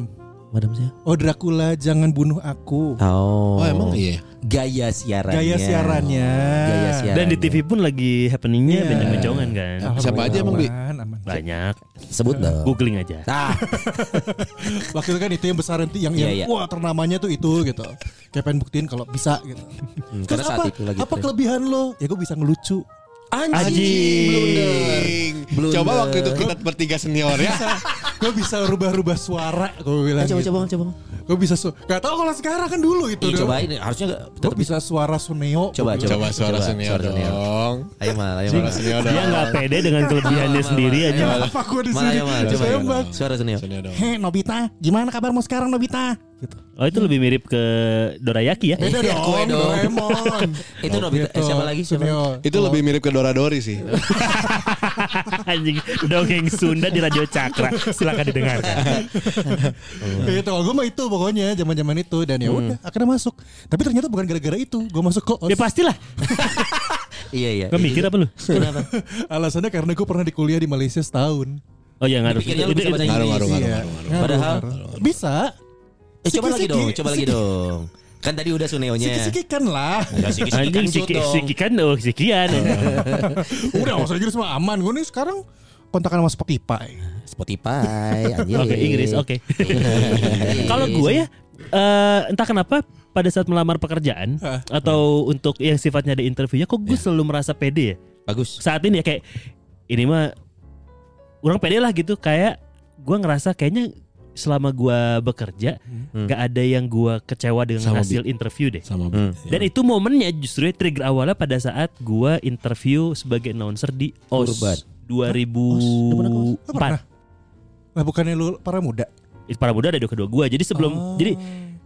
S3: Madam siapa?
S1: Oh Dracula jangan bunuh aku.
S3: Oh.
S4: Oh, emang iya.
S3: Gaya siarannya.
S1: Gaya siarannya.
S3: Gaya siarannya.
S2: Dan di TV pun lagi happeningnya
S1: Iya.
S2: bencong-bencongan kan.
S3: Ah.
S4: Siapa aja emang, Bi?
S1: Aman, aman.
S2: Banyak.
S3: sebut dong.
S2: Googling aja.
S3: Ah,
S1: Waktu itu kan itu yang besar nanti yang, yang
S3: Iya, iya.
S1: wah ternamanya tuh itu gitu. Kayak pengen buktiin kalau bisa gitu.
S3: Hmm, karena
S1: Terus
S3: saat
S1: apa,
S3: itu lagi
S1: apa
S3: tren.
S1: kelebihan lo? Ya gue bisa ngelucu.
S3: anjing. Blunder.
S4: Coba waktu itu kita bertiga senior ya.
S1: gue bisa rubah-rubah suara gue bilang
S3: Eh, Coba
S1: gitu.
S3: coba coba.
S1: Gue bisa su- Gak tau kalau sekarang kan dulu itu.
S3: Ih, cobain harusnya nggak-
S1: Gue
S3: Iya, tetep
S1: bisa suara Suneo.
S3: coba coba.
S4: Coba suara senior dong.
S3: Ayo mal, ayo
S4: Suara
S3: mal.
S4: senior dong.
S2: Dia nggak pede dengan kelebihannya sendiri aja.
S1: Apa gue di
S3: Mal,
S1: sini?
S3: ayo mal, coba.
S1: Tembak.
S3: Suara senior.
S4: Senior dong.
S1: Hei Nobita, gimana kabarmu sekarang Nobita? gitu.
S2: Oh itu lebih mirip ke dorayaki ya?
S5: Beda
S3: Iya,
S5: dong,
S3: kue dong.
S5: Doraemon.
S3: Itu
S1: Iya,
S3: Nobita. Eh, siapa lagi? Siapa lagi?
S5: Sunio.
S4: Itu lebih mirip ke Doradori sih.
S2: Anjing dongeng Sunda di Radio Cakra. Silakan didengarkan.
S5: Kayak
S3: Iya.
S5: itu gue mah itu pokoknya zaman-zaman itu dan
S3: Hmm.
S5: ya udah akhirnya masuk. Tapi ternyata bukan gara-gara itu gue masuk ke
S2: Ya
S5: OS.
S2: pastilah.
S3: Iya iya.
S2: Gak mikir apa lu?
S3: Kenapa?
S5: Alasannya karena gue pernah di kuliah di Malaysia setahun.
S2: Oh ya ngaruh.
S3: Dipikirnya lu
S2: Itu-
S3: bisa
S2: itu-
S3: bahasa Inggris.
S4: Ngaruh, ngaruh, ngaruh.
S5: Iya.
S3: ngaruh. Padahal-
S5: Ngaruh, ngaruh. bisa.
S3: Eh, coba lagi
S5: Siki-siki.
S3: dong, coba lagi dong. Kan tadi udah Suneonya.
S5: Siki-siki kan lah.
S3: Enggak siki siki
S2: Anjing
S3: kan iya,
S2: siki,
S3: dong.
S2: siki kan oh sikian.
S5: udah bahasa Inggris mah aman. Gue nih sekarang kontakan sama Spotify.
S3: Spotify anjir.
S2: Oke
S3: iya.
S2: Inggris oke. Kalau gue ya eh, entah kenapa pada saat melamar pekerjaan atau untuk yang sifatnya ada interviewnya kok gue selalu merasa pede ya.
S3: bagus.
S2: Saat ini ya kayak ini mah orang pede lah gitu kayak gue ngerasa kayaknya selama gue bekerja nggak ada yang gue kecewa dengan
S4: Sama,
S2: hasil interview deh.
S4: Sama
S3: Hmm.
S2: Dan itu momennya justru ya, trigger awalnya pada saat gua interview sebagai announcer di OS
S3: Urban.
S2: 2004.
S5: Nah bukannya lu para muda. Oh.
S2: Itu para muda ada di kedua gua. Jadi sebelum
S1: Oh.
S2: jadi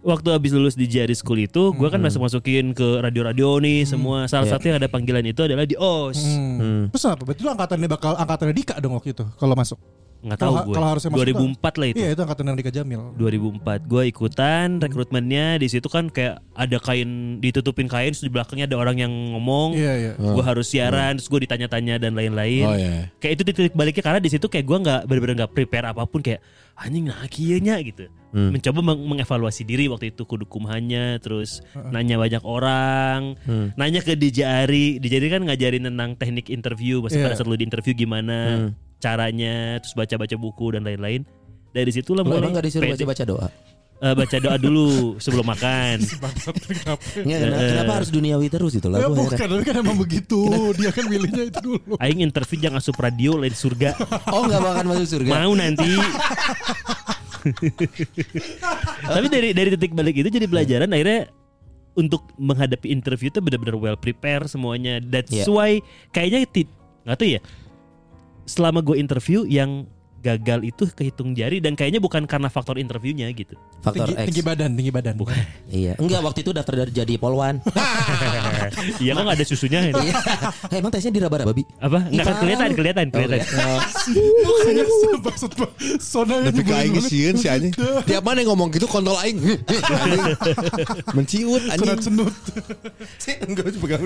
S2: waktu habis lulus di JRI School itu gua kan masuk masukin ke radio-radio nih semua. Salah
S3: Iya.
S2: satu yang ada panggilan itu adalah di OS.
S3: Hmm.
S5: Terus apa? Berarti lu angkatannya bakal angkatannya Dika dong waktu itu kalau masuk.
S2: nggak
S5: Kalau-
S2: tahu
S5: kalau
S2: gua.
S5: harusnya masuk
S2: 2004 lah itu.
S5: Iya itu angkatan yang Dika Jamil.
S2: 2004 gue ikutan rekrutmennya di situ kan kayak ada kain ditutupin kain terus di belakangnya ada orang yang ngomong
S5: Iya iya.
S2: gue harus siaran terus gue ditanya-tanya dan lain-lain
S4: Oh, iya.
S2: kayak itu di titik baliknya karena di situ kayak gue nggak benar-benar nggak prepare apapun kayak anjing nah kianya gitu mencoba meng- mengevaluasi diri waktu itu kudu kumhanya terus nanya banyak orang nanya ke DJ Ari DJ Ari kan ngajarin tentang teknik interview
S5: Iya.
S2: maksudnya pada saat lu di interview gimana caranya terus baca-baca buku dan lain-lain dari situ lah
S3: Lu
S2: mulai
S3: emang gak disuruh
S2: pede.
S3: baca baca doa?
S2: Eh, baca doa dulu sebelum makan.
S3: Nggak, kenapa, kenapa harus duniawi terus itu lah?
S5: Ya
S3: Gua
S5: bukan,
S3: heran.
S5: tapi kan emang begitu. Dia kan milihnya itu dulu.
S2: Aing interview jangan asup radio lain surga.
S3: Oh nggak bakal masuk surga.
S2: Mau nanti. Tapi dari dari titik balik itu jadi pelajaran
S4: Iya.
S2: akhirnya untuk menghadapi interview itu benar-benar well prepare semuanya. That's
S4: Iya.
S3: Yeah.
S2: why kayaknya ti- nggak tahu ya. Selama gue interview yang gagal itu kehitung jari dan kayaknya bukan karena faktor interviewnya gitu.
S3: Faktor
S5: Tinggi,
S3: X.
S5: tinggi badan, tinggi badan. Bukan.
S3: Iya. Enggak waktu itu daftar dari- jadi polwan.
S2: Iya kok nggak ada susunya gitu.
S3: Iya. Eh, emang tesnya di raba-raba babi.
S2: Apa? Nggak
S4: Iya.
S2: kan
S3: Ikan.
S2: kelihatan,
S4: Oh,
S3: Oh,
S2: kelihatan, kelihatan.
S3: iya.
S5: Makanya maksud gua, Iya, Sona
S4: Tapi ke aing
S5: nyebelin
S4: sieun si anjing. Tiap mana yang ngomong gitu kontrol aing. Heh, heh, anjing. Menciut
S5: banget. Sunat
S4: anjing.
S5: senut.
S4: Enggak pegang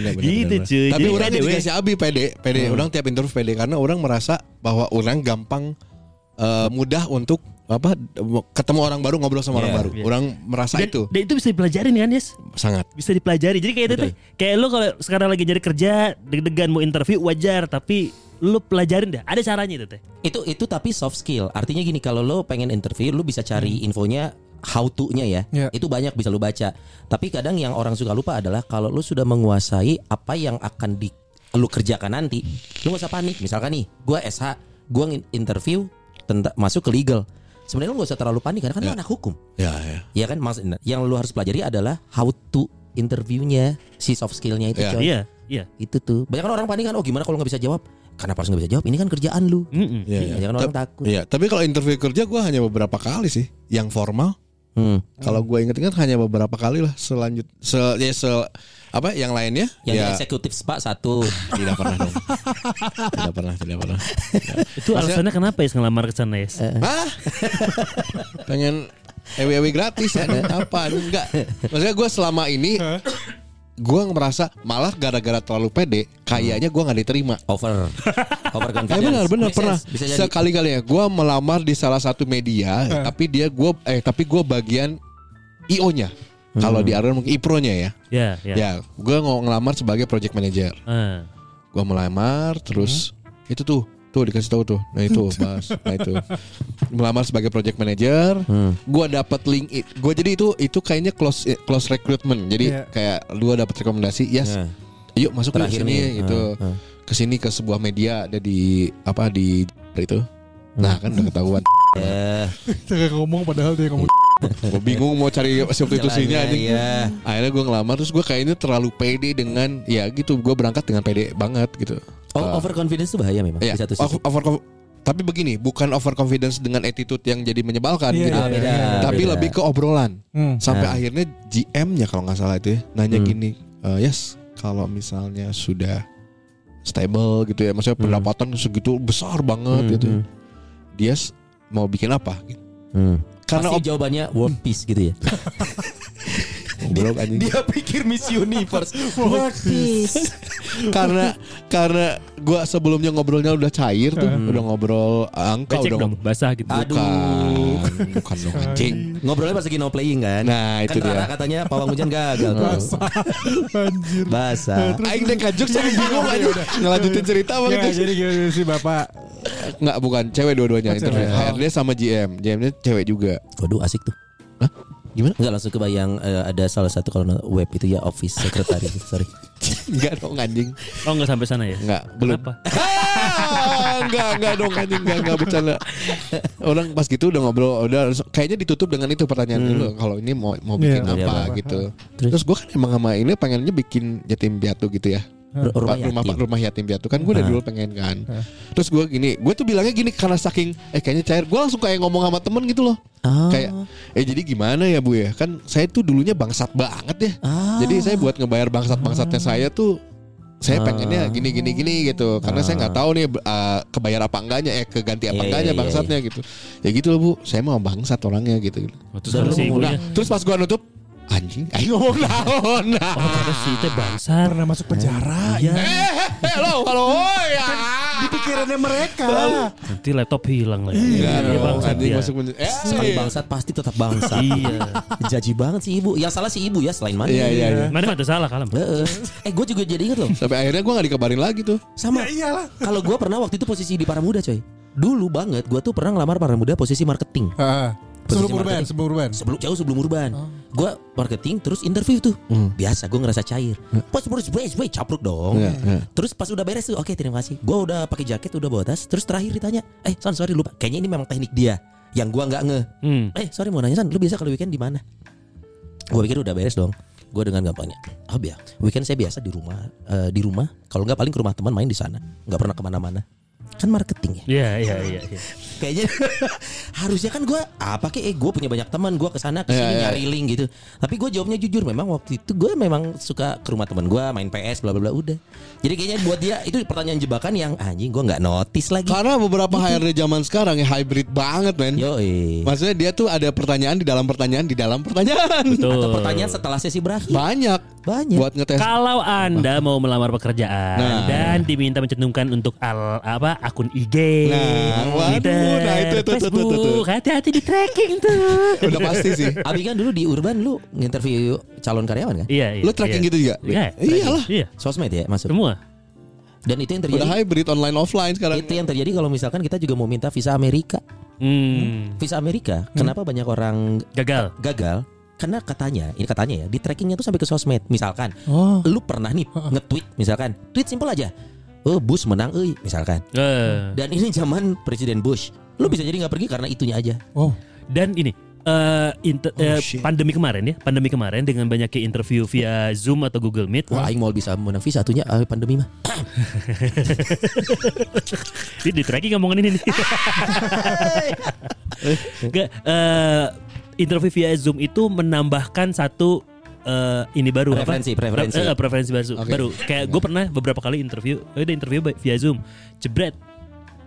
S4: Iya,
S2: Gitu,
S3: Iya,
S2: cuy.
S4: Tapi
S2: Jadi
S4: orang
S2: ada
S4: juga
S2: we.
S4: si Abi pede,
S3: Hmm.
S4: pede. Orang tiap interview pede karena orang merasa bahwa orang gampang eh, mudah untuk apa ketemu orang baru ngobrol sama orang
S3: Iya,
S4: baru. Orang merasa
S2: Dan,
S4: itu
S2: dan itu bisa dipelajarin kan, Yes?
S4: sangat.
S2: bisa dipelajari. Jadi kayak itu teh, kayak lu kalau sekarang lagi nyari kerja, deg-degan mau interview wajar, tapi lu pelajarin dah. Ada caranya itu teh.
S3: Itu itu tapi soft skill. Artinya gini kalau lo pengen interview lo bisa cari
S2: Hmm.
S3: infonya how to-nya ya.
S5: Iya.
S3: Itu banyak bisa lo baca. Tapi kadang yang orang suka lupa adalah kalau lo sudah menguasai apa yang akan di lo kerjakan nanti, lo gak usah panik. Misalkan nih, gua SH, gua ngin- interview tentang masuk ke legal. Sebenarnya lo gak usah terlalu panik karena kan lo anak hukum.
S4: Ya, ya.
S3: Ya kan Mas, yang lu harus pelajari adalah how to interviewnya si soft skillnya itu
S4: Ya.
S3: coy.
S2: Iya, iya.
S3: Itu tuh. Banyak kan orang panik kan oh gimana kalau nggak bisa jawab? Kenapa harus nggak bisa jawab? Ini kan kerjaan lu.
S2: Mm-mm.
S4: Ya, ya.
S3: Jangan orang takut.
S4: Iya, tapi kalau interview kerja gue hanya beberapa kali sih yang formal.
S3: Hmm.
S4: Kalau gue inget-inget hanya beberapa kali lah selanjut se, ya, se- apa yang lainnya
S3: Yang
S4: ya
S3: eksekutif Pak satu.
S4: tidak pernah dong. tidak pernah, tidak pernah.
S2: Itu alasannya kenapa ya ngelamar ke sana, Yes?
S4: Hah? Pengen ewe-ewe gratis ya? Apa? Enggak. Maksudnya gue selama ini gue merasa malah gara-gara terlalu pede kayaknya gue nggak diterima.
S3: Over. Over
S4: Eh
S3: confidence.
S4: benar benar
S3: Make
S4: pernah
S3: sense. Bisa jadi.
S4: sekali-kali ya gue melamar di salah satu media tapi dia gue eh tapi gue bagian IO nya kalau di Aron mungkin IPRO-nya ya
S2: Ya, ya.
S4: Hmm. ya gue ngelamar sebagai project manager
S2: Ah.
S4: gue melamar
S3: Hmm?
S4: terus itu tuh tuh dikasih tahu tuh nah itu bahas nah itu melamar sebagai project manager
S3: Hmm.
S4: gue dapat link it gue jadi itu itu kayaknya close eh, close
S5: Iya.
S4: recruitment jadi kayak gue dapat rekomendasi yes
S3: Nah.
S4: yuk masuk ke
S3: Terakhir nih. Hmm,
S4: sini gitu
S3: Heeh,
S4: ke sini ke sebuah media ada di apa di itu nah kan
S3: Hmm.
S4: udah ketahuan
S3: Eh,
S5: Jangan ngomong padahal dia ngomong.
S4: gue bingung mau cari
S3: jalannya,
S4: substitusinya anjing
S3: Iya.
S4: akhirnya gue ngelamar terus gue kayaknya terlalu pede dengan ya gitu gue berangkat dengan pede banget gitu
S3: Oh, over confidence itu bahaya memang.
S4: Iya,
S3: Di satu sisi.
S4: over, over- Tapi begini, bukan overconfidence dengan attitude yang jadi menyebalkan
S1: Iya,
S4: gitu.
S1: iya,
S3: iya, iya.
S4: Tapi
S3: Beda.
S4: lebih ke obrolan.
S1: Hmm.
S3: Nah.
S4: Sampai
S3: Hmm.
S4: akhirnya GM-nya kalau nggak salah itu ya, nanya gini, "Eh, "Yes, kalau misalnya sudah stable gitu ya,
S3: Hmm.
S4: maksudnya pendapatan segitu besar banget gitu. Dia s- mau bikin apa?" Gitu.
S3: Hmm.
S4: Karena
S3: Pasti jawabannya world peace gitu ya.
S4: Goblok anjing.
S3: pikir Miss Universe. world peace.
S4: karena karena gua sebelumnya ngobrolnya udah cair tuh,
S1: Hmm.
S4: udah ngobrol angka
S2: Becek
S4: udah
S2: dong, basah gitu.
S3: Aduh.
S4: Bukan, bukan dong anjing.
S3: Ngobrolnya pas lagi no playing kan.
S4: Hmm. Nah,
S3: kan
S4: itu
S3: Rara
S4: dia.
S3: katanya pawang hujan gagal. Basah. Basah.
S4: Aing deh kajuk jadi bingung aja ngelanjutin cerita apa
S1: Ya,
S4: gitu.
S1: jadi gimana sih bapak?
S4: Enggak bukan cewek
S1: Oh,
S4: dua-duanya interview.
S1: cewek.
S4: HRD sama GM. GM-nya cewek juga.
S3: Waduh asik tuh.
S4: Hah? Gimana?
S3: Enggak langsung kebayang eh, ada salah satu kalau no- web itu ya office secretary. Sorry.
S4: Enggak dong anjing.
S2: Oh nggak sampai sana ya?
S4: Enggak, belum. Eh,
S2: Kenapa?
S4: Ah, enggak, enggak dong anjing, enggak, enggak bercanda. Orang pas gitu udah ngobrol, udah langsung- kayaknya ditutup dengan itu pertanyaan dulu kalau ini mau mau bikin
S1: Iya,
S4: apa
S1: iya.
S4: gitu.
S3: Terus?
S4: Terus, gua kan emang sama ini pengennya bikin yatim piatu gitu ya.
S3: Ru- Rumah
S4: Pak, rumah
S3: yatim.
S4: rumah yatim piatu kan gue dari dulu pengen kan. Terus gue gini, gue tuh bilangnya gini karena saking eh kayaknya cair, gue langsung kayak ngomong sama temen gitu loh.
S3: Ah.
S4: Kayak eh jadi gimana ya bu ya? Kan saya tuh dulunya bangsat banget ya.
S3: Ah.
S4: Jadi saya buat ngebayar bangsat bangsatnya saya tuh saya pengennya gini gini gini gitu karena saya nggak tahu nih eh, kebayar apa enggaknya eh
S3: Ah.
S4: keganti apa
S3: Iya,
S4: enggaknya
S3: iya, iya,
S4: bangsatnya gitu ya gitu loh bu saya mau bangsat orangnya gitu
S2: Oh, terus
S3: Dan lu
S2: kalau si
S3: mau
S2: ibunya,
S4: nah terus pas gua nutup anjing ayo ngomong naon nah.
S2: oh ternyata si itu bangsar.
S1: Pernah masuk penjara ya.
S4: Eh, lo halo oi, ah.
S1: Pikirannya mereka.
S2: Nanti laptop hilang lagi. Iya, dia
S4: Iya,
S2: bangsat
S4: anjing
S2: dia.
S4: masuk menjadi- Eh,
S3: Sekali
S4: iya.
S3: bangsat pasti tetap bangsat.
S2: Iya.
S3: Jaji banget si ibu. Yang salah si ibu ya selain mana.
S4: Iya iya iya.
S2: Mana ada salah kalem.
S3: Heeh. Eh gue juga jadi inget loh
S4: Sampai akhirnya gue gak dikabarin lagi tuh.
S3: Sama
S5: Ya,
S1: iyalah.
S3: Kalau gue pernah waktu itu posisi di Paramuda coy Dulu banget gue tuh pernah ngelamar Paramuda posisi marketing
S1: Heeh. Sebelum
S3: Posisi
S1: urban,
S3: marketing.
S1: sebelum urban.
S3: sebelum jauh sebelum urban gue marketing terus interview tuh biasa gue ngerasa cair pas terus wes wes capruk dong
S4: Iya, iya.
S3: terus pas udah beres tuh oke terima kasih gue udah pakai jaket udah bawa tas terus terakhir ditanya eh son sorry lupa kayaknya ini memang teknik dia yang gue nggak nge
S2: Hmm.
S3: eh sorry mau nanya san lu biasa kalau weekend di mana gue pikir udah beres dong gue dengan gampangnya oh ya weekend saya biasa di rumah eh, di rumah kalau nggak paling ke rumah teman main di sana nggak pernah kemana-mana kan marketing ya
S2: Iya, iya, iya. iya.
S3: kayaknya harusnya kan gue apa kek eh gue punya banyak teman gue kesana kesini
S4: Iya, iya.
S3: nyari link gitu tapi gue jawabnya jujur memang waktu itu gue memang suka ke rumah teman gue main PS bla bla bla udah jadi kayaknya buat dia itu pertanyaan jebakan yang anjing gue nggak notice lagi
S4: Karena beberapa HRD zaman sekarang ya hybrid banget men.
S3: yo
S4: Maksudnya dia tuh ada pertanyaan di dalam pertanyaan di dalam pertanyaan.
S2: Tuh.
S3: atau pertanyaan setelah sesi berakhir
S4: Banyak.
S3: banyak
S4: Buat ngetes.
S2: Kalau Anda mau melamar pekerjaan
S4: Nah.
S2: dan diminta mencantumkan untuk al, apa akun IG,
S4: Nah, waduh,
S2: Twitter,
S4: nah itu, itu, itu, itu, itu.
S2: Facebook, hati-hati di tracking tuh.
S4: Udah pasti sih.
S3: Abi kan dulu di Urban lu nginterview calon karyawan kan
S2: iya, iya.
S4: Lu tracking
S2: iya.
S4: gitu juga?
S2: Iya,
S4: Iyalah.
S2: Iya.
S3: sosmed ya masuk
S2: Semua.
S3: dan itu yang
S4: Udah
S3: terjadi
S4: hybrid online offline sekarang.
S3: itu yang terjadi kalau misalkan kita juga mau minta visa Amerika
S2: Hmm.
S3: visa Amerika kenapa banyak orang
S2: Gagal.
S3: gagal karena katanya ini katanya ya di trackingnya tuh sampai ke sosmed misalkan
S1: Oh.
S3: lu pernah nih nge-tweet misalkan tweet simpel aja oh Bush menang euy misalkan
S2: Eh,
S3: dan ini zaman Presiden Bush lu bisa jadi nggak pergi karena itunya aja
S1: Oh.
S2: dan ini eh, inter- eh,
S4: Oh, shit.
S2: pandemi kemarin ya, pandemi kemarin dengan banyaknya interview via Zoom atau Google Meet.
S3: wah aing mau bisa menang visa satunya ah, pandemi mah
S2: Ini di tracking ngomongan ini nih. Nggak, eh, interview via Zoom itu menambahkan satu eh, ini baru
S3: Preferensi,
S2: apa?
S3: preferensi.
S2: Eh, eh, preferensi baru. baru. Kayak gue pernah beberapa kali interview, eh, udah interview by- via Zoom. Jebret.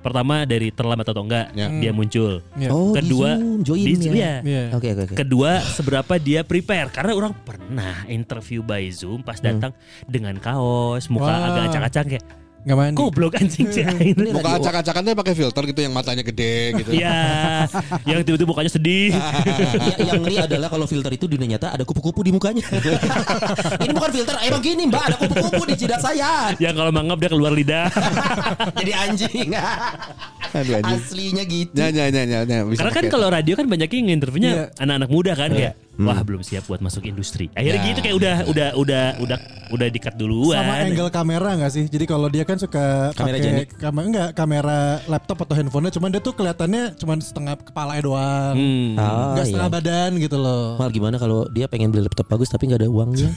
S2: Pertama dari terlambat atau enggak,
S4: Ya.
S2: dia muncul.
S1: Iya.
S3: oh
S2: Kedua,
S3: di Zoom join
S2: di Zoom,
S3: ya
S2: ya.
S1: Iya.
S3: oke oke oke
S2: Kedua, seberapa dia prepare karena orang pernah interview by Zoom pas
S3: Hmm.
S2: datang dengan kaos, muka
S1: Wah.
S2: agak acak-acak kayak
S1: Enggak mandi.
S2: goblok anjing sih.
S3: Ini
S4: Muka
S3: radio-
S4: acak-acakannya pakai filter gitu yang matanya gede gitu.
S2: Iya, yang tiba-tiba mukanya sedih.
S3: Ya, yang ngeri adalah kalau filter itu dunia nyata ada kupu-kupu di mukanya. ini bukan filter, emang gini mbak ada kupu-kupu di jidat saya.
S2: yang kalau mangap dia keluar lidah.
S3: Jadi anjing.
S4: Aduh anjing.
S3: Aslinya gitu.
S4: Ya ya ya ya. ya, bisa
S2: Karena kan
S4: pakai.
S2: kalau radio kan banyaknya yang interviewnya
S1: Iya.
S2: anak-anak muda kan kayak wah belum siap buat masuk industri. Akhirnya
S4: Iya. Hmm. Ya,
S2: gitu kayak udah udah udah udah udah dikat duluan.
S1: Sama angle kamera gak sih? Jadi kalau dia kan suka
S3: Kamera
S1: pakai
S3: jenik.
S1: kamera enggak kamera laptop atau handphonenya, cuman dia tuh kelihatannya cuman setengah kepala doang.
S2: Hmm.
S3: Ah,
S1: Enggak
S3: iya.
S1: setengah badan gitu loh.
S3: Oh. Mal gimana kalau dia pengen beli laptop bagus tapi nggak ada uangnya?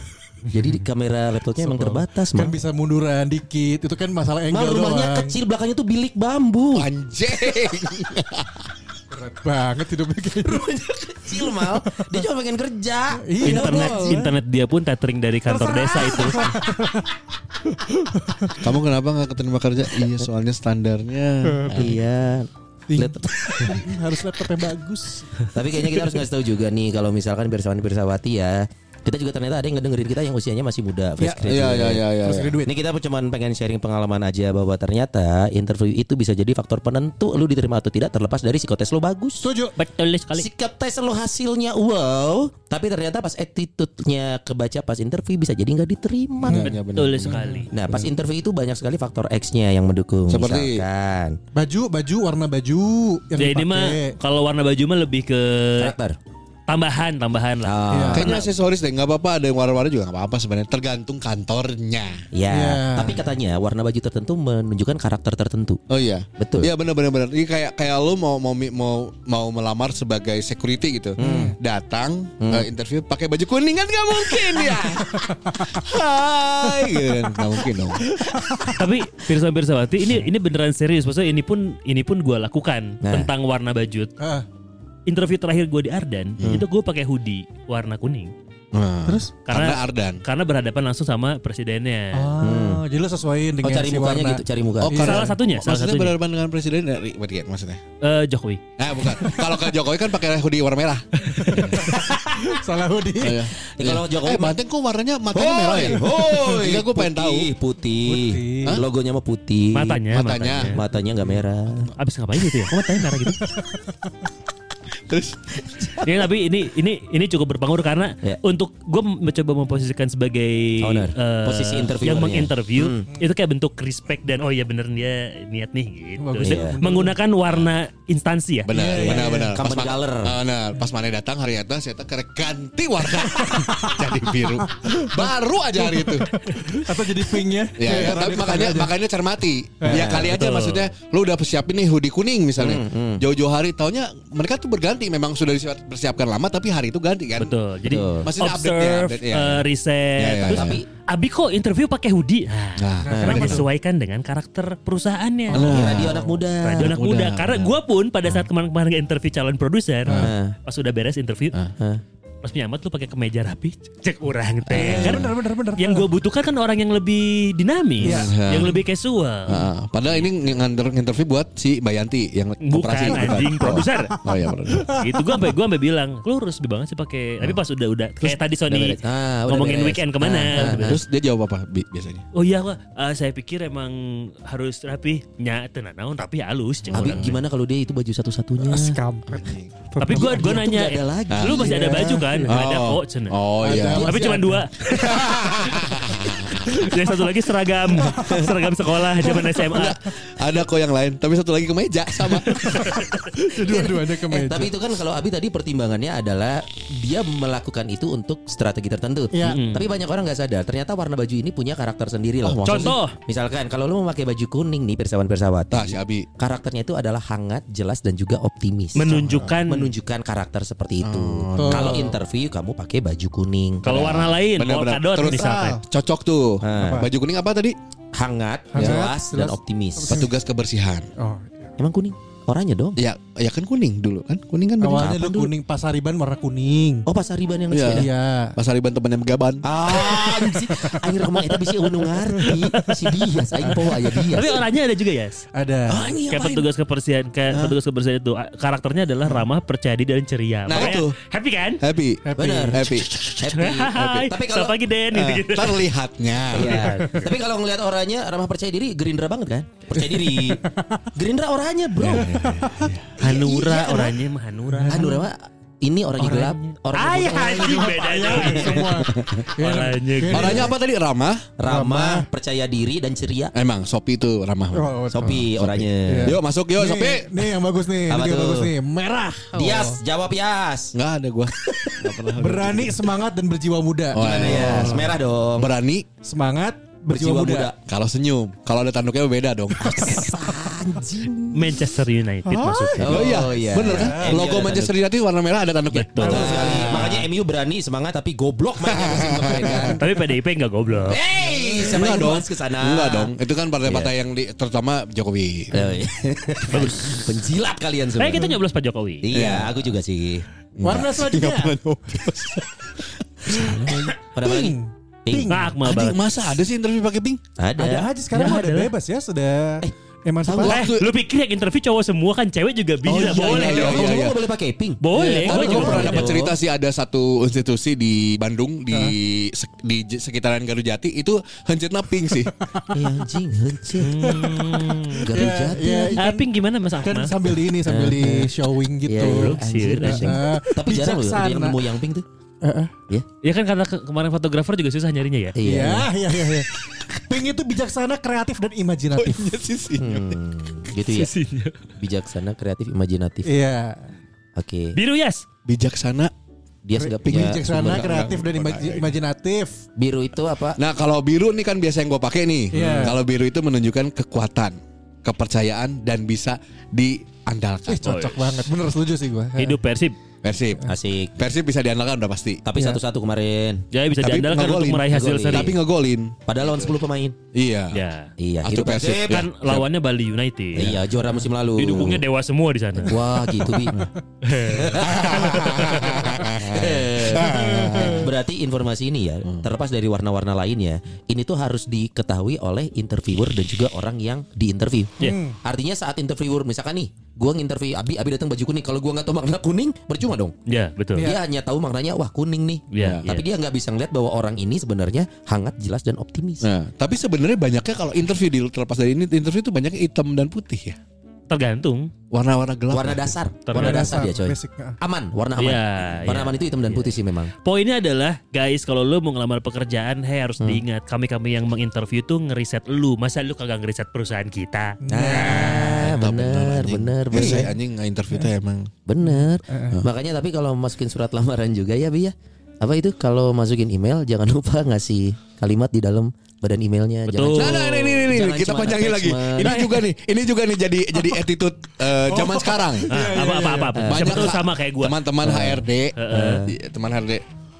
S3: Jadi di kamera laptopnya emang terbatas,
S5: Kan
S3: Mang.
S5: bisa munduran dikit. Itu kan masalah
S3: Mang,
S5: angle
S3: rumahnya
S5: doang.
S3: kecil, belakangnya tuh bilik bambu.
S4: Anjing.
S5: Berat banget hidupnya kayak gitu.
S3: kecil mal dia cuma pengen kerja
S5: Iya,
S3: Tidak
S2: internet
S3: boleh.
S2: internet dia pun tethering dari kantor desa itu.
S4: Kamu kenapa nggak keterima kerja? Iya, soalnya standarnya.
S3: iya Lihat-
S5: Harus laptop yang bagus.
S3: tapi kayaknya kita harus ngasih tahu juga nih kalau misalkan bersawati bersawati ya kita juga ternyata ada yang ngedengerin kita yang usianya masih muda fresh graduate.
S4: Iya, iya, iya,
S3: Oh,
S4: iya.
S5: Terus ada duit.
S3: Ini kita cuma pengen sharing pengalaman aja bahwa ternyata interview itu bisa jadi faktor penentu lu diterima atau tidak terlepas dari psikotes lu bagus.
S5: Setuju.
S2: Betul sekali.
S3: Sikap tes lo hasilnya wow, tapi ternyata pas attitude-nya kebaca pas interview bisa jadi nggak diterima.
S4: Iya, benar.
S2: Betul sekali.
S3: Nah, pas interview itu banyak sekali faktor X-nya yang mendukung.
S4: Seperti-
S3: misalkan
S5: Baju, baju, warna baju yang
S2: Jadi ini mah
S5: dipakai.
S2: kalau warna baju mah lebih ke
S3: karakter.
S2: tambahan tambahan lah.
S4: Ah.
S3: Oh,
S4: Kayaknya aksesoris deh, nggak apa-apa ada yang warna-warna juga nggak apa-apa sebenarnya. Tergantung kantornya.
S3: Ya,
S5: Ya.
S3: tapi katanya warna baju tertentu menunjukkan karakter tertentu.
S4: Oh iya,
S3: Betul.
S4: Iya benar-benar benar. Ini kayak kayak lu mau mau mau mau melamar sebagai security gitu. Datang eh, interview pakai baju kuning kan nggak mungkin ya. Hai, gitu kan. nggak mungkin dong.
S2: Tapi Pirsa Pirsawati ini ini beneran serius. Maksudnya ini pun ini pun gue lakukan
S3: Nah.
S2: tentang warna baju.
S5: Ah,
S2: Interview terakhir gue di Ardan itu gue pakai hoodie warna kuning
S5: terus?
S4: Nah, Karena
S2: karena
S4: Ardan.
S2: karena berhadapan langsung sama presidennya.
S1: Oh.
S5: Ah, jadi lo sesuaiin
S3: Oh,
S5: dengan
S3: cari
S5: si
S3: mukanya
S5: warna.
S3: gitu, cari muka.
S4: Oh, karena
S2: Salah satunya, salah
S4: maksudnya
S2: satunya.
S4: berhadapan dengan presiden dari berarti ya, maksudnya.
S2: Eh, Jokowi.
S4: Nah, bukan. Kalau ke Jokowi kan pakai hoodie warna merah.
S5: Salah hoodie.
S4: Oh, iya.
S3: Eh, kalau
S4: Iya.
S3: Jokowi
S4: eh, Banteng kok warnanya matanya merah ya?
S3: Hoi,
S4: Enggak gue pengen tahu.
S3: putih, Putih,
S5: Putih.
S3: Hah? Logonya mah putih.
S2: Matanya,
S4: matanya.
S2: matanya.
S3: Matanya nggak merah.
S2: Abis ngapain gitu ya? Kok matanya merah gitu?
S4: Terus
S2: ya, tapi ini ini ini cukup berpengaruh karena
S3: Ya.
S2: untuk gue mencoba memposisikan sebagai
S3: Owner.
S2: eh,
S3: Posisi interviewernya.
S2: yang menginterview itu kayak bentuk respect dan oh ya bener dia niat nih gitu.
S5: Bagus,
S2: Dan
S3: iya.
S2: Menggunakan warna instansi ya.
S4: benar, benar, benar.
S3: Company
S4: ma-
S3: color.
S4: Ah, benar. Pas mana datang hari atas saya kerek ganti warna jadi biru. Baru aja hari itu.
S5: Atau jadi pinknya.
S3: Iya,
S2: Iya,
S4: Ya, ya,
S5: Karena
S4: tapi
S5: dia
S4: makanya
S5: tetangga aja.
S4: makanya cermati. ya kali aja
S2: betul. Hmm,
S4: maksudnya lu udah persiapin nih hoodie kuning misalnya. Jauh-jauh hari taunya mereka tuh berganti memang sudah disiapkan lama tapi hari itu ganti kan.
S2: Betul. Jadi
S3: Betul.
S4: Maksudnya update-nya,
S2: observe,
S4: update-nya.
S2: eh, riset.
S4: Ya, ya,
S2: Terus
S4: ya.
S2: tapi Abi kok interview pakai hoodie? Nah,
S4: Nah,
S2: karena menyesuaikan dengan karakter perusahaannya.
S3: Radio anak muda.
S2: Radio anak muda. Karena gue pun pada saat kemarin-kemarin interview calon produser,
S3: Ah.
S2: pas udah beres interview,
S3: Nah.
S2: pas nyamat lu pakai kemeja rapi, cek orang teh. Kan
S5: Bener, bener, bener.
S2: yang gue butuhkan kan orang yang lebih dinamis,
S4: Iya.
S2: yang lebih casual.
S4: Ah, padahal ini nganter interview buat si Bayanti yang operasi
S2: Bukan anjing produser.
S4: Oh, oh iya produser.
S2: Itu gue sampai gue sampai bilang, lu harus lebih banget sih pakai. Tapi pas udah udah kayak tadi Sony
S3: beres. Ah, udah
S2: ngomongin
S3: beres.
S2: weekend kemana.
S3: Ah,
S2: gitu.
S4: Terus dia jawab apa Bi, biasanya?
S2: Oh iya, Wak. Eh, saya pikir emang harus rapi. Nya tenang naon rapi halus. cek
S3: Abi
S2: orang.
S3: gimana kalau dia itu baju satu-satunya?
S5: Skampet.
S2: Tapi gue gua
S3: Dia tuh
S2: nanya,
S3: nggak ada lagi.
S2: lu masih ada baju kan? Nggak ada kok, cen.
S4: Oh iya.
S2: Tapi
S5: Masih
S2: cuma
S5: ada.
S2: dua. Yang satu lagi seragam, seragam sekolah zaman SMA.
S4: Ada kok yang lain, tapi satu lagi kemeja sama.
S5: Dua-duanya ke
S3: Eh,
S5: meja.
S3: tapi itu kan kalau Abi tadi pertimbangannya adalah dia melakukan itu untuk strategi tertentu.
S5: Iya.
S3: Mm. Tapi banyak orang nggak sadar ternyata warna baju ini punya karakter sendiri loh.
S4: Oh, maksud-
S2: Contoh,
S3: Misalkan kalau lu memakai baju kuning nih persawan-persawat.
S4: Tah si Abi.
S3: karakternya itu adalah hangat, jelas dan juga optimis.
S2: menunjukkan
S3: menunjukkan karakter seperti itu.
S5: Betul.
S3: Kalau interview kamu pakai baju kuning.
S2: kalau warna lain,
S4: Benar-benar.
S2: polkadot
S4: Terus
S2: misalkan.
S4: cocok tuh.
S3: Ah.
S4: Baju kuning apa tadi?
S3: hangat,
S5: Hangat,
S3: jelas, dan
S5: jelas.
S3: optimis.
S4: Petugas kebersihan.
S5: Oh,
S1: iya.
S3: Emang kuning? Oranye dong.
S4: Ya, ya kan kuning dulu kan? Kuning kan baju.
S5: awalnya lu kuning pasariban warna kuning.
S3: Oh, pas Ariban yang
S4: Iya.
S3: sepeda.
S5: Iya.
S4: Mas Ariban temannya Begaban.
S3: Ah, anjing. Aing rek mah eta bisi eunu ngarti. Si dia, aing poa aya dia.
S2: Tapi orangnya ada juga ya. Yes.
S5: Ada.
S3: Anjing,
S2: Kayak
S3: apain?
S2: petugas kebersihan, kayak petugas kebersihan itu a- karakternya adalah ramah, percaya diri dan ceria.
S4: Nah,
S2: Makanya
S4: itu.
S2: happy kan?
S4: Happy.
S5: Happy.
S4: Bener. Happy.
S3: Happy, happy.
S2: Hai,
S3: Iya, Tapi
S2: selamat
S3: kalau
S2: pagi Den.
S4: Eh,
S2: gitu-gitu.
S4: terlihatnya. Ya,
S3: Iya. Tapi kalau ngelihat orangnya ramah percaya diri, Gerindra banget kan? Percaya diri. Gerindra orangnya,
S4: ya, Iya.
S3: Bro. Iya,
S2: Hanura
S3: iya,
S2: orangnya mah Hanura.
S3: Hanura mah ini orangnya gelap, orangnya
S2: Ay,
S3: putih.
S2: anjing bedanya.
S5: Semua.
S3: Iya.
S2: Orangnya gitu. gelap.
S4: Orangnya apa tadi? Ramah.
S3: ramah, percaya diri dan ceria.
S4: Emang Sopi itu ramah.
S5: Oh, oh,
S3: Sopi orangnya.
S4: Yuk masuk yuk Sopi.
S5: Nih, nih yang bagus nih,
S3: Apa
S5: ini yang
S3: tuh?
S5: bagus nih, merah.
S3: Dias, jawab Yas.
S4: Enggak ada gua. Nggak pernah.
S5: Berani, semangat dan berjiwa muda.
S4: Oh,
S3: Gimana
S4: iya.
S3: Yas? Merah dong.
S4: Berani
S5: Semangat,
S3: berjiwa
S1: muda.
S3: muda.
S4: Kalau senyum, kalau ada tanduknya beda dong.
S3: Anjing.
S2: Manchester United maksudnya.
S4: Oh, iya, bener
S3: MU
S4: kan? Logo
S3: ada
S4: Manchester United warna merah ada tanduknya.
S3: Iya,
S2: Betul.
S3: Betul sekali. Makanya MU berani semangat tapi goblok mainnya musim kemarin kan.
S2: Tapi PDIP nggak goblok.
S3: Hey, siapa
S4: Enggak
S3: yang
S4: dong.
S3: bahas ke sana?
S4: Enggak dong. Itu kan partai-partai yang di, terutama Jokowi.
S3: Iya. Oh, Bagus. Penjilat kalian semua.
S2: Eh kita nyoblos Pak Jokowi.
S3: Iya, aku juga sih.
S1: Warna
S3: Oh,
S1: selanjutnya.
S3: Pada apa lagi? Pink.
S2: Nah, Akmal
S4: Anjing,
S2: banget.
S4: masa ada sih interview pakai pink?
S1: Ada
S3: Ada.
S1: aja sekarang
S2: Nggak
S1: mah
S2: ada
S1: udah
S2: lah.
S1: bebas ya sudah
S2: Eh,
S1: emansipasi.
S2: lu pikir yang interview cowok semua kan cewek juga bisa.
S4: Oh, iya,
S2: boleh dong.
S4: iya, iya.
S3: Eh, Kamu nggak boleh pakai pink.
S2: Boleh.
S4: Tapi
S2: Gua
S4: gue
S2: juga
S4: pernah
S2: pernah
S4: dapat
S3: dong.
S4: cerita sih ada satu institusi di Bandung di sek- di j- sekitaran Garut Jati itu hencitna pink sih.
S3: Eh anjing, hencet. Gak ada jati.
S1: Ya,
S2: Ah, Pink gimana Mas
S1: kan
S2: Akmal?
S1: sambil di ini sambil di showing
S3: Iya, iya.
S1: gitu.
S3: Anjir,
S2: Sirah.
S3: anjing.
S1: Ah,
S3: Tapi jarang loh
S1: bijaksana.
S3: yang nemu yang pink tuh. Iya.
S2: Ya kan karena ke- kemarin fotografer juga susah nyarinya ya.
S3: Iya.
S1: Iya, iya, iya. iya. Pink itu bijaksana, kreatif dan imajinatif.
S4: Punya sisi.
S3: Hmm, gitu ya.
S2: Sisinya.
S3: Bijaksana, kreatif, imajinatif.
S1: Iya.
S3: Oke.
S2: Biru yes.
S4: Bijaksana.
S3: Dia sudah punya
S1: Bijaksana,
S3: sumber.
S1: kreatif dan ima- imajinatif.
S3: biru itu apa?
S4: Nah kalau biru nih kan biasa yang gue pakai nih.
S1: Iya.
S4: Kalau biru itu menunjukkan kekuatan, kepercayaan dan bisa diandalkan.
S1: Eh, cocok banget. Bener setuju sih gua.
S2: Hidup Persib.
S4: Persib.
S3: Asik.
S4: Persib bisa diandalkan udah pasti.
S3: Tapi satu-satu kemarin.
S2: Jadi Ya, bisa
S4: Tapi
S2: diandalkan untuk
S4: ngegolin,
S2: meraih hasil
S3: ngegolin.
S2: seri.
S4: Tapi ngegolin.
S3: Padahal lawan 10 pemain.
S4: Iya.
S2: ya.
S3: Iya,
S4: Atau
S3: hidup
S4: Persib.
S3: Persib.
S2: Kan lawannya Bali United.
S3: Iya, juara musim lalu.
S2: Di dukungnya dewa semua di sana.
S3: Wah, gitu bi. Berarti informasi ini ya,
S2: Hmm.
S3: terlepas dari warna-warna lainnya, ini tuh harus diketahui oleh interviewer dan juga orang yang diinterview.
S2: Iya.
S3: Artinya saat interviewer misalkan nih, gua nginterview Abi, Abi datang baju kuning. Kalau gua nggak tahu makna kuning, percuma dong.
S2: Ya, betul.
S1: Iya.
S3: Dia hanya tahu maknanya wah kuning nih.
S2: Iya,
S3: Tapi dia nggak bisa ngeliat bahwa orang ini sebenarnya hangat, jelas dan optimis.
S4: Nah, tapi sebenarnya banyaknya kalau interview di terlepas dari ini interview itu banyaknya hitam dan putih ya.
S2: Tergantung.
S4: Warna-warna gelap.
S3: Warna dasar,
S2: Ternyata.
S3: warna dasar dia coy.
S1: Basicnya.
S3: Aman, warna aman.
S2: Iya,
S3: warna
S2: iya.
S3: aman itu hitam dan putih sih memang.
S2: Poinnya adalah guys kalau lu mau ngelamar pekerjaan hey harus
S3: Hmm.
S2: diingat kami-kami yang menginterview tuh ngeriset lu. Masa lu kagak ngeriset perusahaan kita?
S3: Nah, bener, bener,
S4: Eh,
S3: bener, Eh.
S4: saya anjing nggak interview tuh emang.
S3: bener. Nah, Makanya tapi kalau masukin surat lamaran juga ya, Bi ya. Apa itu kalau masukin email jangan lupa ngasih kalimat di dalam badan emailnya.
S2: Betul.
S4: Nah,
S3: Jangan,
S4: nah, ini, ini,
S3: Oh.
S4: ini,
S3: Jangan
S4: kita
S3: cuma
S4: panjangin lagi.
S3: attachment. Oh.
S4: Ini juga nih, ini juga nih jadi jadi attitude eh, zaman sekarang.
S2: Ah, apa apa
S4: iya.
S2: apa. apa. Siapa tahu
S4: ha-
S2: sama kayak gua. Ah.
S4: Teman-teman HRD, iya, teman HRD.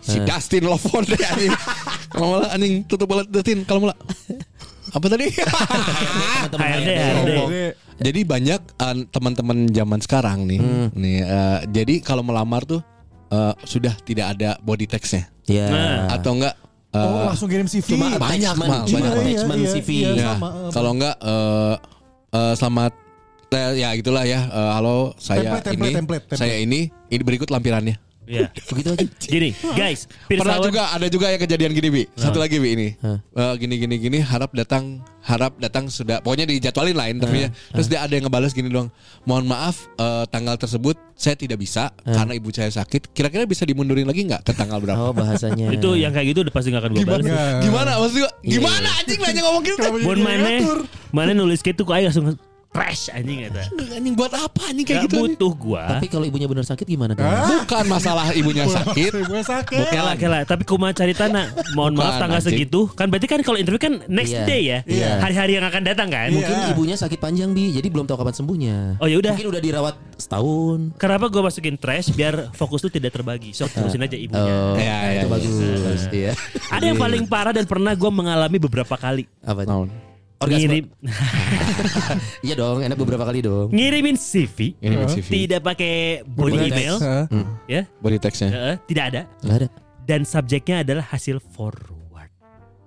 S4: Si Dustin Lovon deh anjing. Kalau malah anjing tutup balat Dustin kalau malah apa tadi?
S3: teman-teman
S2: HRD,
S3: HRD.
S1: Oh,
S2: HRD.
S4: jadi banyak eh, teman-teman zaman sekarang nih, nih eh, jadi kalau melamar tuh eh, sudah tidak ada body text-nya
S3: Ya.
S2: Nah.
S4: atau enggak eh,
S1: Oh, langsung kirim CV.
S3: Cuma
S4: Banyak,
S3: attachment,
S4: Mal,
S3: cuma
S4: banyak.
S3: attachment
S1: Iya, iya,
S3: CV.
S1: iya.
S4: Ya,
S1: sama, eh,
S4: kalau enggak eh eh, selamat eh, ya gitulah ya. Eh, halo saya
S1: Template, template,
S4: ini
S1: template, template.
S4: saya ini ini berikut lampirannya.
S2: Ya.
S3: Begitu aja.
S2: Gini, guys,
S4: Pernah
S2: Pirsawan
S4: juga ada juga ya kejadian gini Bi. Satu lagi Bi ini. Eh, gini gini gini harap datang harap datang sudah pokoknya dijadwalin lah interviewnya. Terus dia ada yang ngebales gini doang. Mohon maaf eh, tanggal tersebut saya tidak bisa karena ibu saya sakit. Kira-kira bisa dimundurin lagi nggak ke tanggal
S3: Oh,
S4: berapa?
S3: bahasanya.
S2: itu yang kayak gitu udah pasti gak akan gua balas.
S4: Gimana Iya, maksud gua? Gimana anjing nanya ngomong gitu?
S2: Bon mana? Mana nulis gitu kok aja langsung crash anjing kata.
S4: Anjing buat apa anjing
S2: Gak
S4: kayak gitu? anjing?
S2: butuh gua.
S3: Tapi kalau ibunya benar sakit gimana
S4: Ah.
S3: dong?
S4: Bukan masalah ibunya sakit,
S1: Gue sakit.
S2: Kela kela, tapi kuma cari tanah. Mohon
S4: Bukan,
S2: maaf tanggal
S4: anjing.
S2: segitu. Kan berarti kan kalau interview kan next
S3: Iya.
S2: day ya.
S3: Iya.
S2: Hari-hari yang akan datang kan.
S4: Iya.
S3: Mungkin
S1: Iya.
S3: ibunya sakit panjang bi, jadi belum tahu kapan sembuhnya.
S2: Oh, ya udah.
S3: Mungkin udah dirawat setahun.
S2: Kenapa gua masukin trash biar fokus tuh tidak terbagi. Sok terusin aja ibunya.
S3: Oh,
S4: Iya, iya,
S3: itu
S4: iya.
S3: bagus. Iya.
S2: Ada yang paling parah dan pernah gua mengalami beberapa kali.
S3: Apa?
S4: Naon?
S3: Orgasme.
S2: Ngirim,
S3: Iya dong, enak beberapa kali dong.
S2: ngirimin
S3: Hmm.
S2: CV,
S4: Ngirimin CV.
S2: tidak pakai body
S1: Body
S2: email,
S1: text, eh.
S2: ya,
S4: body text-nya.
S2: Heeh, tidak ada.
S3: Enggak ada.
S2: Dan subjeknya adalah hasil forward.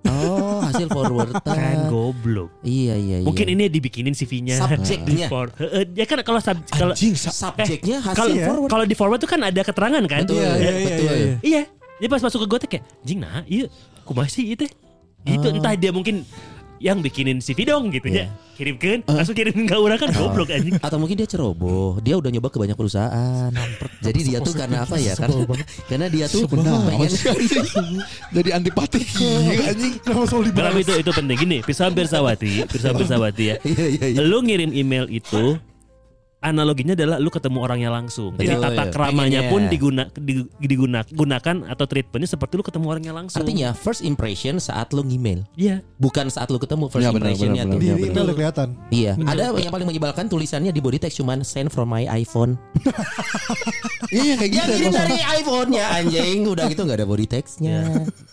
S3: Oh, hasil forward.
S2: Kan goblok.
S3: Iya, Ah. iya, iya.
S2: Mungkin ini dibikinin CV-nya.
S3: Subjeknya.
S2: Di for- Heeh, ya kan kalau sub- kalau
S3: subjeknya hasil
S2: kalau
S3: forward.
S2: kalau di forward tuh kan ada keterangan kan?
S3: Betul, ya,
S1: Iya, iya, iya,
S3: betul.
S1: iya.
S2: Iya. Dia pas masuk ke gotek kayak, jing nah, iya, aku masih itu.
S3: Ah.
S2: Itu entah dia mungkin yang bikinin CV dong gitu
S3: Iya.
S2: ya. Kirimkan,
S3: Ah.
S2: langsung kirimin ke orang kan goblok anjing.
S3: Atau mungkin dia ceroboh, dia udah nyoba ke banyak perusahaan. Jadi dia tuh karena apa ya? Karena, karena dia tuh pengen
S4: Jadi antipati Iya,
S1: Hmm.
S4: anjing.
S1: Kenapa selalu dibahas?
S2: Tapi itu itu penting gini, Pirsa Pirsawati, Pirsa Pirsawati ya.
S3: Iya, iya, iya.
S2: Lu ngirim email itu analoginya adalah lu ketemu orangnya langsung.
S3: Betul,
S2: Jadi tata
S3: ya.
S2: keramanya
S3: Pengennya.
S2: pun diguna, di- diguna, gunakan atau treatmentnya seperti lu ketemu orangnya langsung.
S3: Artinya first impression saat lo ngemail,
S2: Iya.
S3: bukan saat lo ketemu first
S4: Ya, benar,
S3: impressionnya
S4: benar,
S3: tuh.
S5: Di
S4: benar,
S5: email udah kelihatan.
S3: Iya, ada yang paling menyebalkan tulisannya di body text cuman send from my iPhone.
S4: Iya kayak
S3: Ya
S4: gitu.
S3: kirim
S4: kosong.
S3: dari iPhone-nya anjing, udah gitu nggak ada body textnya.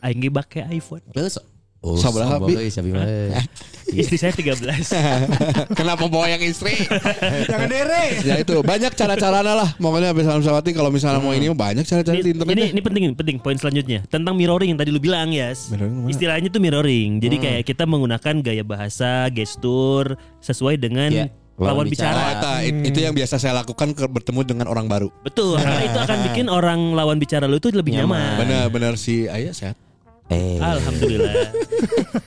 S2: Aing ge bake iPhone.
S3: Terus Iya. Oh,
S4: Sabaraha,
S3: sombong
S4: Bi?
S3: euy, sabi mah.
S2: Istri saya 13.
S4: Kenapa bawa yang istri?
S1: Jangan dere.
S4: ya itu banyak cara-caranya lah. Pokoknya habis salam salawati kalau misalnya mau ini banyak cara-cara di
S2: Hmm. ini,
S4: internet.
S2: ini,
S3: ya?
S4: dah.
S2: ini penting penting poin selanjutnya tentang mirroring yang tadi lu bilang Yas. Istilahnya tuh mirroring. Jadi
S3: Hmm.
S2: kayak kita menggunakan gaya bahasa, gestur sesuai dengan
S3: Iya,
S2: lawan
S3: lawan
S4: Oh,
S2: bicara.
S3: bicara.
S4: eta, it-
S2: Hmm.
S4: itu yang biasa saya lakukan ke- bertemu dengan orang baru.
S2: Betul. Karena itu akan bikin orang lawan bicara lu itu lebih nyaman.
S4: Benar-benar si Ayah sehat.
S3: Eh,
S2: Alhamdulillah.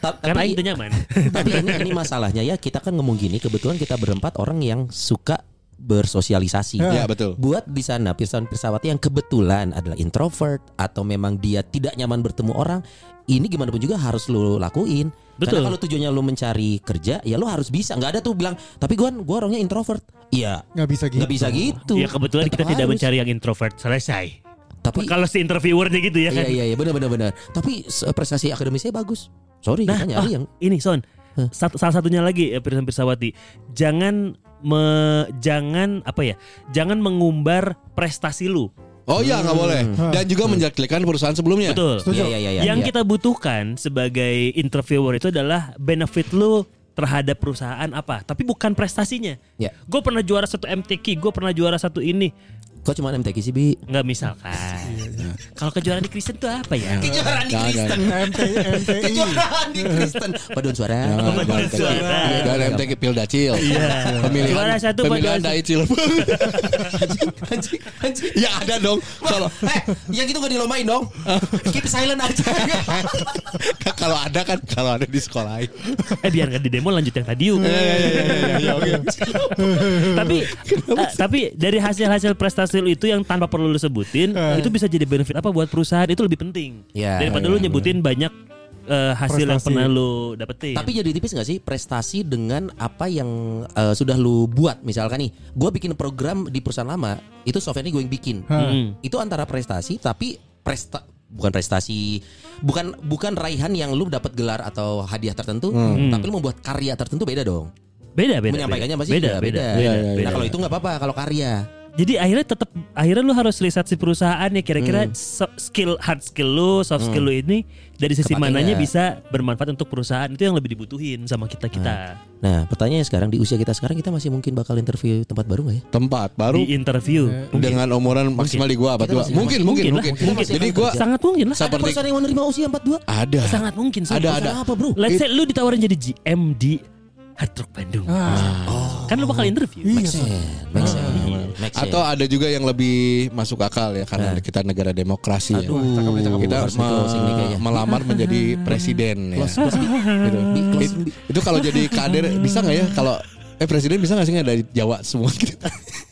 S3: ta-
S2: Karena
S3: tapi
S2: itu nyaman.
S3: tapi ini, ini masalahnya ya kita kan ngomong gini kebetulan kita berempat orang yang suka bersosialisasi.
S4: Ya, betul.
S3: Buat di sana pirsawan-pirsawat yang kebetulan adalah introvert atau memang dia tidak nyaman bertemu orang, ini gimana pun juga harus lo lakuin.
S2: Betul.
S3: Karena kalau tujuannya lo mencari kerja, ya lo harus bisa. Nggak ada tuh bilang, tapi gua gua orangnya introvert. Iya,
S1: Nggak bisa gitu.
S3: nggak bisa gitu.
S2: Ya kebetulan
S3: Tetap
S2: kita tidak
S3: harus.
S2: mencari yang introvert. Selesai.
S3: Tapi
S2: Kalau si interviewernya gitu ya
S3: iya
S2: kan.
S3: iya iya benar benar benar. Tapi se- prestasi akademisnya bagus. Sorry,
S2: Nah,
S3: kita nyari
S2: ah,
S3: yang
S2: ini Son. Sat- salah satunya lagi ya Pirsan Pirsawati. Jangan me- jangan apa ya? Jangan mengumbar prestasi lu.
S4: Oh iya nggak boleh. Dan juga menjelek-jelekan perusahaan sebelumnya.
S2: Hmm. Betul.
S3: Iya iya iya. iya,
S2: yang
S3: iya.
S2: kita butuhkan sebagai interviewer itu adalah benefit lu terhadap perusahaan apa, tapi bukan prestasinya.
S3: Ya.
S2: Gue pernah juara satu MTQ, gue pernah juara satu ini,
S3: Kok cuma MTQ sih, Bi?
S2: nggak misalkan.
S3: Iya,
S2: Kalau kejuaraan di Kristen tuh apa ya?
S3: Kejuaraan di
S4: Jangan,
S3: Kristen. Kejuaraan di Kristen. Paduan suara.
S4: Ya,
S3: Iya,
S4: Jangan,
S2: Benar,
S4: jangan,
S2: suara.
S4: jangan. Dan MTQ Pil Dacil.
S2: Iya. Juara
S4: Pemilihan,
S2: satu,
S4: pemilihan
S2: padahal-
S4: Dacil.
S3: Anjing, anjing, anjing.
S4: ya ada dong. Kalau
S3: Kalau eh, yang gitu gak dilomain dong. Keep silent aja.
S4: kalau ada kan kalau ada di sekolah.
S2: eh biar nggak di demo lanjut yang tadi
S3: Iya,
S2: yuk. Iya, tapi eh, tapi dari hasil-hasil prestasi lu itu yang tanpa perlu lu sebutin
S3: Ah.
S2: itu bisa jadi benefit apa buat perusahaan itu lebih penting
S3: Ya,
S2: daripada lu nyebutin banyak eh, hasil yang
S1: Prestasi.
S2: pernah lu dapetin.
S3: Tapi jadi tipis gak sih prestasi dengan apa yang eh, sudah lu buat misalkan nih, gue bikin program di perusahaan lama itu softwarenya gue yang bikin.
S2: Hmm.
S3: Itu antara prestasi tapi presta bukan prestasi bukan bukan raihan yang lu dapat gelar atau hadiah tertentu, tapi lu membuat karya tertentu beda dong.
S2: beda beda
S3: Menyampaikannya
S2: beda.
S3: pasti
S2: beda
S3: juga
S2: beda,
S3: beda.
S2: beda,
S4: Iya, iya,
S2: beda.
S3: Nah kalau itu nggak apa-apa kalau karya.
S2: jadi akhirnya tetap akhirnya lu harus riset si perusahaan ya
S3: Hmm.
S2: kira-kira so- skill hard skill lu soft skill lu ini dari sisi
S3: Kepakainya.
S2: mananya bisa bermanfaat untuk perusahaan itu yang lebih dibutuhin sama kita kita
S3: Nah pertanyaannya sekarang di usia kita sekarang kita masih mungkin bakal interview tempat baru Eh, nggak ya?
S4: Tempat baru
S2: di interview mungkin.
S4: dengan umuran maksimal di gua apa
S3: Kita
S4: dua?
S3: masih-
S4: Mungkin mungkin
S2: mungkin lah,
S4: mungkin.
S2: mungkin.
S4: Jadi gua
S2: sangat mungkin lah
S4: Sa-
S3: Ada
S4: Seperti-
S3: perusahaan yang menerima usia 42?
S4: ada.
S2: sangat mungkin Son.
S4: Ada ada.
S3: Perusahaan apa bro?
S2: Let's say lu ditawarin jadi GM di Hard Rock Bandung.
S1: Ah,
S3: Ah.
S2: Kan lu bakal
S1: iya,
S2: interview.
S3: Make sense, make sense, make sense.
S4: Atau ada juga yang lebih masuk akal ya karena kita negara demokrasi
S3: Nah.
S4: ya.
S3: Aduh, cakep nih, cakep.
S4: kita
S3: Harus di closing nih kayaknya.
S4: me- melamar menjadi presiden ya. Gitu.
S3: Bi, closing,
S4: It- itu kalau jadi kader bisa nggak ya kalau eh presiden bisa nggak sih nggak dari Jawa semua gitu.